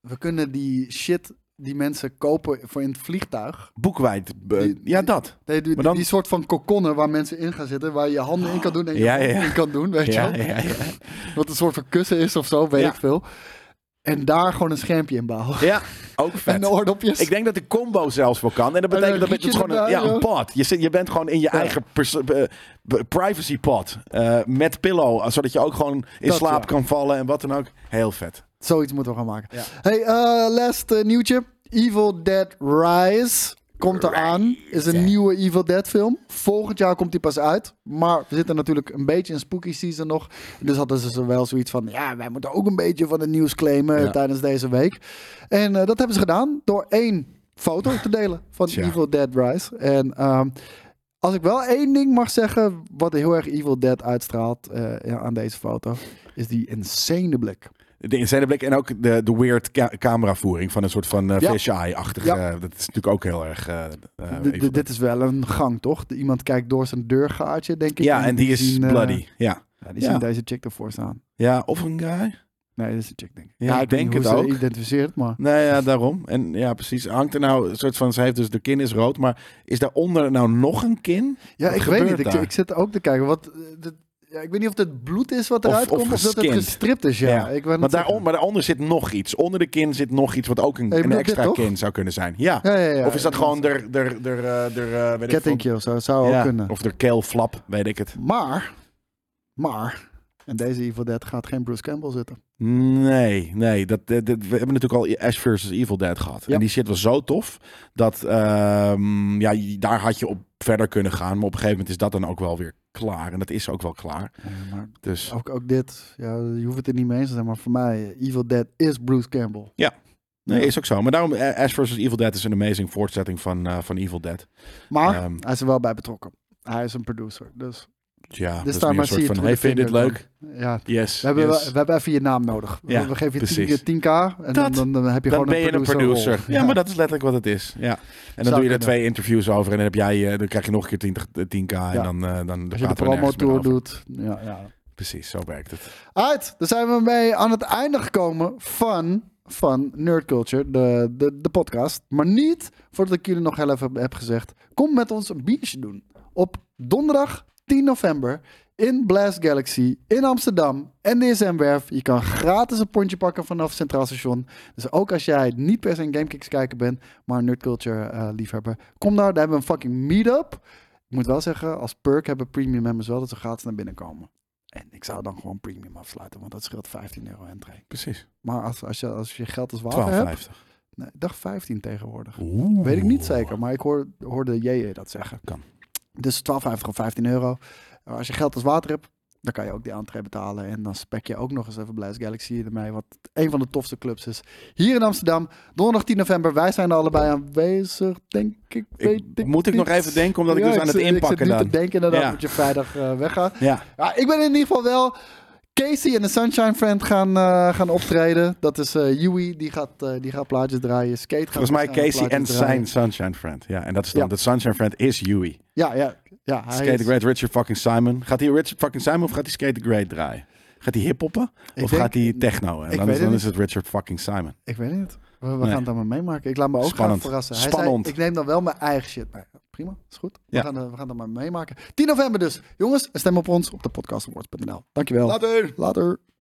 C: we kunnen die shit die mensen kopen voor in het vliegtuig.
B: Boekwijd, eh,
C: Die-
B: ja dat.
C: Die, die,
B: Maar dan-
C: die soort van kokonnen waar mensen in gaan zitten, waar je je handen in kan doen en je
B: Ja, ja,
C: handen
B: ja.
C: in kan doen, weet je
B: Ja,
C: wel.
B: ja, ja.
C: Wat een soort van kussen is of zo, weet
B: Ja.
C: ik veel. En daar gewoon een schermpje in bouwen.
B: ja, ook vet.
C: en oordopjes.
B: Ik denk dat de combo zelfs wel kan. En dat betekent dat
C: dan
B: het
C: giet je
B: gewoon een, ja,
C: erbij,
B: een
C: joh.
B: pod. Je, zit, je bent gewoon in je eigen pers- eh, b- privacy pod. eh, met pillow. eh, Zodat je ook gewoon in
C: Dat,
B: slaap
C: ja.
B: kan vallen en wat dan ook. Heel vet.
C: Zoiets moeten we gaan maken.
B: Ja.
C: Hey, eh last eh, nieuwtje. Evil Dead Rise komt eraan. Is een nieuwe Evil Dead film. Volgend jaar komt die pas uit. Maar we zitten natuurlijk een beetje in spooky season nog. Dus hadden ze zo wel zoiets van... Ja, wij moeten ook een beetje van het nieuws claimen
B: Ja.
C: tijdens deze week. En eh, dat hebben ze gedaan door één foto te delen van
B: Tja.
C: Evil Dead Rise. En... ehm, als ik wel één ding mag zeggen, wat heel erg Evil Dead uitstraalt eh, ja, aan deze foto, is die insane blik.
B: De insane blik en ook de, de weird ca- cameravoering van een soort van eh
C: Ja.
B: fisheye-achtige.
C: Ja.
B: eh, dat is natuurlijk ook heel erg. eh, eh,
C: D- d-
B: even-
C: dit is wel een gang, toch? Iemand kijkt door zijn deurgaatje, denk ik.
B: ja, en die is
C: zien, eh,
B: bloody. Ja.
C: ja, die
B: Ja.
C: zien deze chick ervoor staan.
B: ja, of een guy.
C: Nee, dat is een chick, denk ik.
B: Ja, ik
C: weet niet
B: denk
C: hoe
B: het
C: ze
B: ook.
C: identificeert, maar...
B: Nou ja, daarom. En ja, precies. Hangt er nou een soort van. Ze heeft dus de kin is rood. Maar is daaronder nou nog een kin? Wat
C: Ja, ik weet
B: gebeurt
C: niet. Ik,
B: daar?
C: ik zit ook te kijken. Wat, eh, dit- ja, ik weet niet of dit bloed is wat
B: Of-
C: eruit
B: of
C: komt, of dat het
B: geskind.
C: gestript is, ja.
B: Ja,
C: Ik wou
B: Maar,
C: net
B: daaron,
C: zeggen.
B: maar daaronder zit nog iets. Onder de kin zit nog iets wat ook een,
C: je
B: een
C: bedoelt dit,
B: extra
C: toch?
B: kin zou kunnen zijn. Ja.
C: Ja, ja, ja.
B: Of is dat gewoon der, der, der, eh, der eh, weet ik
C: Kettingje of zo,
B: veel.
C: zou
B: Ja,
C: ook kunnen.
B: Of der keelflap, weet ik het.
C: Maar, maar... En deze Evil Dead gaat geen Bruce Campbell zitten.
B: Nee, nee. Dat, dat- dat- we hebben natuurlijk al Ash versus Evil Dead gehad.
C: Ja.
B: En die shit was zo tof. Dat ehm, ja, je- daar had je op verder kunnen gaan. Maar op een gegeven moment is dat dan ook wel weer klaar. En dat is ook wel klaar.
C: Eh, maar
B: Dus
C: ook, ook dit, ja, je hoeft het er niet mee eens te zijn, maar voor mij, eh, Evil Dead is Bruce Campbell.
B: nee, is ook zo. Maar daarom, eh, Ash versus Evil Dead is een amazing voortzetting van, eh, van Evil Dead.
C: Maar
B: Ehm,
C: hij is er wel bij betrokken. Hij is een producer, dus
B: ja,
C: Dit
B: dat is meer
C: staat maar
B: een soort
C: see it
B: van,
C: through
B: hey,
C: the
B: vind je dit
C: finger
B: leuk?
C: ja.
B: Yes.
C: We hebben,
B: yes.
C: we, we hebben even je naam nodig. We-
B: Ja,
C: we geven je 10
B: precies.
C: keer 10k en dan,
B: Dat-
C: dan, dan heb je
B: dan
C: gewoon
B: ben je een producer.
C: producerrol.
B: Ja, maar dat is letterlijk wat het is. Ja. En dan doe
C: Zou
B: je er
C: kunnen.
B: twee interviews over en dan, heb jij, eh, dan krijg je nog een keer 10, k en
C: Ja.
B: dan, eh, dan
C: Als je de
B: praten we nergens
C: promo
B: meer
C: tour
B: over.
C: doet. Ja, ja.
B: Precies, zo werkt het.
C: Uit, dan zijn we mee aan het einde gekomen van, van Nerd Culture, de, de, de podcast. Maar niet voordat ik jullie nog heel even heb gezegd. Kom met ons een biertje doen. Op donderdag 10 november in Blast Galaxy in Amsterdam en DSM-werf. Je kan gratis een pondje pakken vanaf Centraal Station. Dus ook als jij niet per se een Gamekicks kijker bent, maar een Nerd Culture eh, liefhebber. Kom daar, daar hebben we een fucking meetup. Ik moet wel zeggen, als perk hebben premium members wel dat ze gratis naar binnen komen. En ik zou dan gewoon premium afsluiten, want dat scheelt 15 euro entree.
B: Precies.
C: Maar als, als, je, als je geld als water hebt,
B: 12,50.
C: nee, ik dacht 15 tegenwoordig.
B: Oeh.
C: Weet ik niet zeker, maar ik hoor, hoorde JJ dat zeggen.
B: Kan.
C: Dus 12,50 of 15 euro. Maar Als je geld als water hebt, dan kan je ook die entree betalen. En dan spek je ook nog eens even Blast Galaxy ermee, wat een van de tofste clubs is. Hier in Amsterdam, donderdag 10 november. Wij zijn er allebei aanwezig, denk ik. Weet
B: Ik- moet ik nog
C: niet.
B: even denken, omdat ik dus aan
C: zit-
B: het inpakken
C: Ik zit nu
B: dan.
C: te denken inderdaad
B: Ja.
C: dat je vrijdag eh, weggaat.
B: Ja,
C: Ja, ik ben in ieder geval wel. Casey en de Sunshine Friend gaan, eh, gaan optreden. Dat is eh Yui, die gaat, eh, die gaat plaatjes draaien. Skate gaat
B: volgens mij
C: waarschijnlijk
B: Casey en
C: plaatjes draaien.
B: zijn Sunshine Friend. Ja, en dat is dan,
C: Ja.
B: dat Sunshine Friend is Yui.
C: Ja, ja, ja. Hij
B: Skate the
C: is-
B: Great Richard fucking Simon. Gaat hij Richard fucking Simon of gaat hij Skate the Great draaien? Gaat hij hiphoppen
C: Ik
B: of
C: denk-
B: gaat hij techno? En
C: ik
B: dan
C: weet
B: is,
C: het
B: dan
C: niet.
B: is het Richard fucking Simon.
C: Ik weet niet. We, we
B: Nee.
C: gaan het allemaal meemaken. Ik laat me ook
B: Spannend.
C: graag verrassen. Hij
B: Spannend.
C: Zei, ik neem dan wel mijn eigen shit mee. Prima, is goed. We,
B: Ja.
C: gaan, eh, we gaan dat maar meemaken. 10 november dus. Jongens, stem op ons op de podcastawards.nl. Dankjewel.
B: Later!
C: Later.